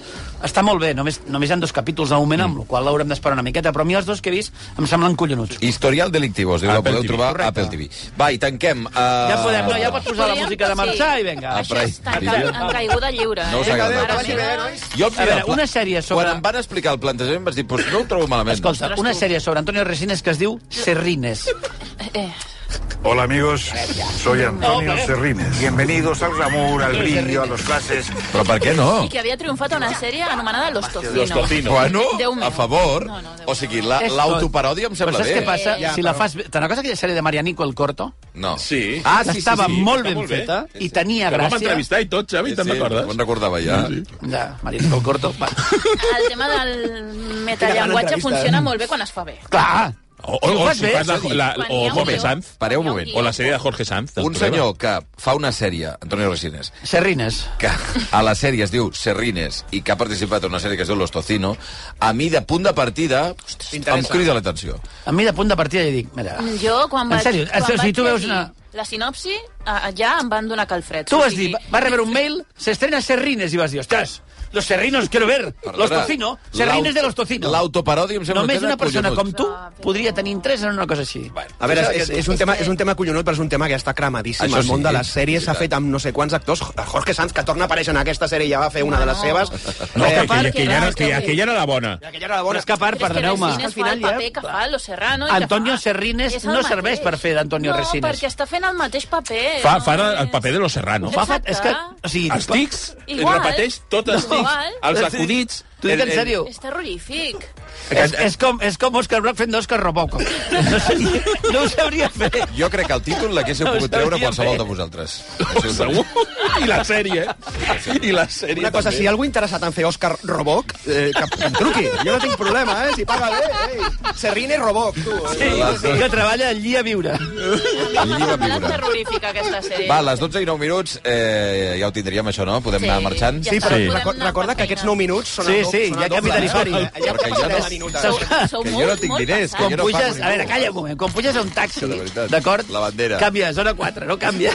B: Està molt bé, només, només hi ha dos capítols de moment, mm. amb el qual l'haurem d'esperar una miqueta, però a mi els dos que he vist em semblen collonuts.
F: Historial Delictivo, es diu, la
G: Apple
F: podeu
G: TV,
F: trobar a
G: correcte.
F: Apple TV. Va, i tanquem. Uh...
B: Ja podem, no? Ja pots posar la
E: Podríem-
B: música de marxar i vinga.
F: Ah,
E: Això
F: però-
E: està ca- en caiguda lliure.
F: No us
E: eh?
F: agrada.
E: Mare
F: Adéu, que vagi
E: meva.
C: bé, nois.
F: Jo,
B: A veure, una sèrie sobre-
F: Quan em van explicar el plantejament vaig dir, doncs no ho trobo malament.
B: Escolta, una sèrie sobre Antonio Resines que es diu Serrines.
E: Eh,
H: Hola amigos, soy Antonio Serrines. Bienvenidos al glamour, al brillo, a los flashes.
F: Però per què no?
E: I que havia triomfat a una sèrie anomenada Los Tocinos.
G: Los Tocinos.
F: Bueno,
E: Déu meu.
F: a favor.
E: No, no, Déu
F: o sigui, la-
B: És tot.
F: l'autoparòdia em
B: Però
F: sembla
B: saps
F: bé.
B: què passa?
E: Ja,
B: si la fas... bé- Te'n recordes aquella sèrie de Marianico el Corto?
F: No.
G: Sí.
F: Ah, sí, sí,
B: Estava
F: sí.
B: molt
G: està
B: ben
G: molt bé.
B: feta
G: Sí,
B: i tenia
G: Que el vam
B: gràcia.
G: entrevistar i tot, Xavi,
F: Sí,
G: te'n
F: sí,
G: recordes?
F: Me'n recordava ja.
G: Sí, sí.
B: Ja, Marianico el Corto... Va.
E: El tema del metallenguatge
C: entrevista,
E: funciona molt bé quan es fa bé.
B: Clar!
G: O, o,
B: Si ho
G: o,
B: fas
G: si
B: bé,
G: fas la,
B: Xavi.
G: la,
E: Quan hi
G: o
E: ha un
G: Jorge
E: guió,
G: eh? Sanz,
F: Pareu un
E: quan hi ha
F: moment.
E: guió.
G: o la sèrie de Jorge Sanz. del
F: Un
G: programa.
F: senyor que fa una sèrie, Antonio Resines,
B: Serrines.
F: que a la sèrie es diu Serrines i que ha participat en una sèrie que es diu Los Tocino, a mi de punt de partida em
C: t'interessa.
F: crida l'atenció.
B: A mi de punt de partida ja dic, mira...
E: Jo, quan
B: En
E: vaig...
B: sèrio,
E: quan
B: en sèrio, si
E: vaig
B: tu veus
E: llegir
B: una-
E: La sinopsi, eh, ja em van donar calfreds.
B: Tu
E: o
B: vas
E: sigui,
B: dir, va- vas rebre un mail, s'estrena Serrines, i vas dir, ostres, los serrinos quiero ver, los
F: Perdona,
B: tocino, serrines
F: l'auto-
B: de los tocino.
F: L'autoparòdia em sembla
B: Només
F: que era
B: una persona com
F: collonut.
B: tu
E: Ah,
B: podria tenir interès en una cosa així.
C: A veure, és, és, és, un tema, és un tema collonut, però és un tema que està cremadíssim.
F: Això
C: Això el món
F: sí,
C: de
F: eh?
C: les sèries s'ha fet amb no sé quants actors. Jorge Sanz, que torna a aparèixer en aquesta sèrie, ja va fer una de les
E: No.
C: seves. Eh,
G: No, que, que, que, ja,
E: no,
G: no, que, ja, que ja era la bona.
C: Aquella era la
B: Però
C: bona.
B: és que a part,
E: Però és que
B: perdoneu-me...
E: Resines
C: Al
E: fa
C: final
E: el
C: ja-
E: paper que fa Los Serrano... i que
B: Antonio
E: fa-
B: Serrines
E: És el
B: no serveix
E: mateix.
B: per fer d'Antonio Resines.
E: No, perquè està fent el mateix paper.
G: Fa,
E: no
G: fa ara el
E: és-
G: paper de los Serrano.
B: Fa, fa, és que, o sigui,
G: Els tics
E: Igual.
G: repeteix tots els tics.
E: Igual.
G: Els acudits,
B: T'ho dic
D: El-
B: en
D: el-
B: sèrio.
E: És terrorífic.
B: És, és, com, és com Oscar Brock fent d'Oscar Robocop. No, sabria, no ho sabria fer.
F: Jo crec que el títol l'haguéssiu
B: No ho
F: pogut treure
B: sabia
F: qualsevol
B: fer.
F: de vosaltres. Això us ho dic.
G: Segur? I la sèrie, eh? I la sèrie
C: Una cosa, si hi ha algú interessat en fer Òscar Roboc, eh, que em truqui. Jo no tinc problema, eh? Si paga bé, ei. Serrine Roboc, tu. eh.
B: Sí, que treballa allí a viure.
E: A mi
F: Allí va
E: m'ha semblat
F: viure.
E: terrorífica aquesta sèrie.
F: Va, a les 12 i 9 minuts, eh, ja ho tindríem, això, no? Podem
E: Sí,
F: anar marxant?
E: ja
C: Sí,
E: està,
C: però
E: podem
C: reco-
E: anar
C: recorda
E: per
C: que aquests
E: feina.
C: 9 minuts són
B: Sí,
C: el
B: sí,
C: són
B: ja
C: el doble,
B: capitani
C: eh?
B: Fari.
C: Ja
F: Perquè jo no-
C: capitani minuta.
B: Saps que-
E: Sou
F: Que jo
E: molt,
F: no tinc
E: molt
F: diners, que
E: passats.
F: jo
B: Quan
F: no faig
B: puges...
F: ningú.
B: A veure, calla un moment. Quan puges a un taxi,
F: Això, de veritat.
B: d'acord?
F: La bandera.
B: Canvia, zona 4, no canvia.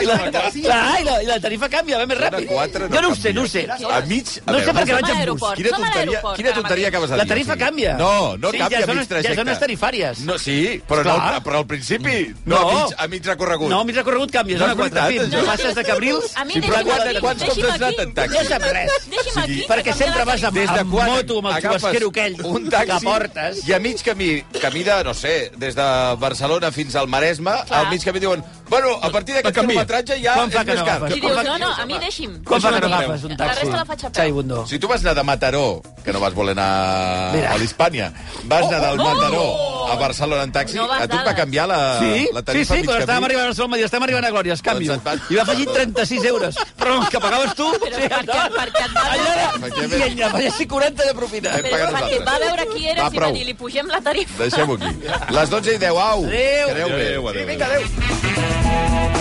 B: I la, clar, i la, i la tarifa canvia, va més
F: Zona
B: ràpid.
F: quatre no
B: jo no ho sé,
F: canvia.
B: no ho sé.
F: A mig... a
B: No sé per què
F: veure,
E: Som
B: vaig
E: a
B: amb bus.
E: l'aeroport,
F: Quina
E: som a
F: tonteria,
E: l'aeroport.
F: quina
E: ara
F: tonteria
E: mateix.
F: acabes de dir.
B: La tarifa
F: o sigui.
B: canvia.
F: No, no
B: Sí, ja són-
F: canvia mig
B: ja
F: trajecte.
B: són les tarifàries.
F: No, sí, però, no,
B: Esclar.
F: però al principi, no,
B: No.
F: A, mig, a mig recorregut.
B: No, mig recorregut canvia,
F: No
B: zona
F: és
B: 4.
F: veritat,
B: Fins,
F: això.
B: passes de Cabrils...
E: A mi
F: Sí, però
E: deixi'm
F: quan-
E: aquí,
F: quants
E: deixi'm
F: cops has
E: aquí.
F: anat en taxi?
B: No sap res.
E: Deixi'm
F: O
E: aquí,
F: sigui,
E: que
B: Perquè
E: canvia
B: sempre
E: la
B: vas amb,
E: tarifa.
F: Des de
B: amb
F: quan
B: moto, amb el
F: agafes
B: xubasquero aquell
F: un taxi,
B: que portes...
F: I a mig camí, camí de, no sé, des de Barcelona fins al Maresme,
E: Clar.
F: al mig camí diuen, bueno, a partir d'aquest
G: canvia.
F: quilometratge ja
B: Quan fa
F: és
B: que
F: més
B: no
F: car.
B: agafes?
E: I dius, no, no, a mi deixi'm.
B: Com fa
G: Això
B: que no
G: no
B: agafes un
E: La
B: taxi?
E: resta la faig a peu.
B: Xai Bundó.
F: Si tu vas anar de Mataró, que no vas voler anar
B: Mira.
F: a l'Hispània, vas anar del
E: oh, oh!
F: Mataró a Barcelona en taxi,
E: No vas
F: a tu et va
E: dades.
F: canviar la,
B: Sí,
F: Eh, la
B: sí,
F: tarifa
B: sí,
F: a mig
B: quan estàvem
F: camí.
B: arribant a Solma i estàvem arribant a Glòria, es canvio.
F: Doncs et vas-
B: I va afegir 36 euros. Però els que pagaves tu...
E: Però per què- per què et vas-
B: Allà era... I en afegeixi 40 de propina.
F: Hem
E: Però
F: pagat
E: perquè
F: nosaltres.
E: va veure qui
F: Va,
E: eres i va
F: prou.
E: dir, li pugem la tarifa.
F: Deixem-ho aquí. Les 12 i 10, au!
B: Adéu.
F: Que aneu bé.
G: Adéu, adéu, adéu.
C: Vinga, adéu.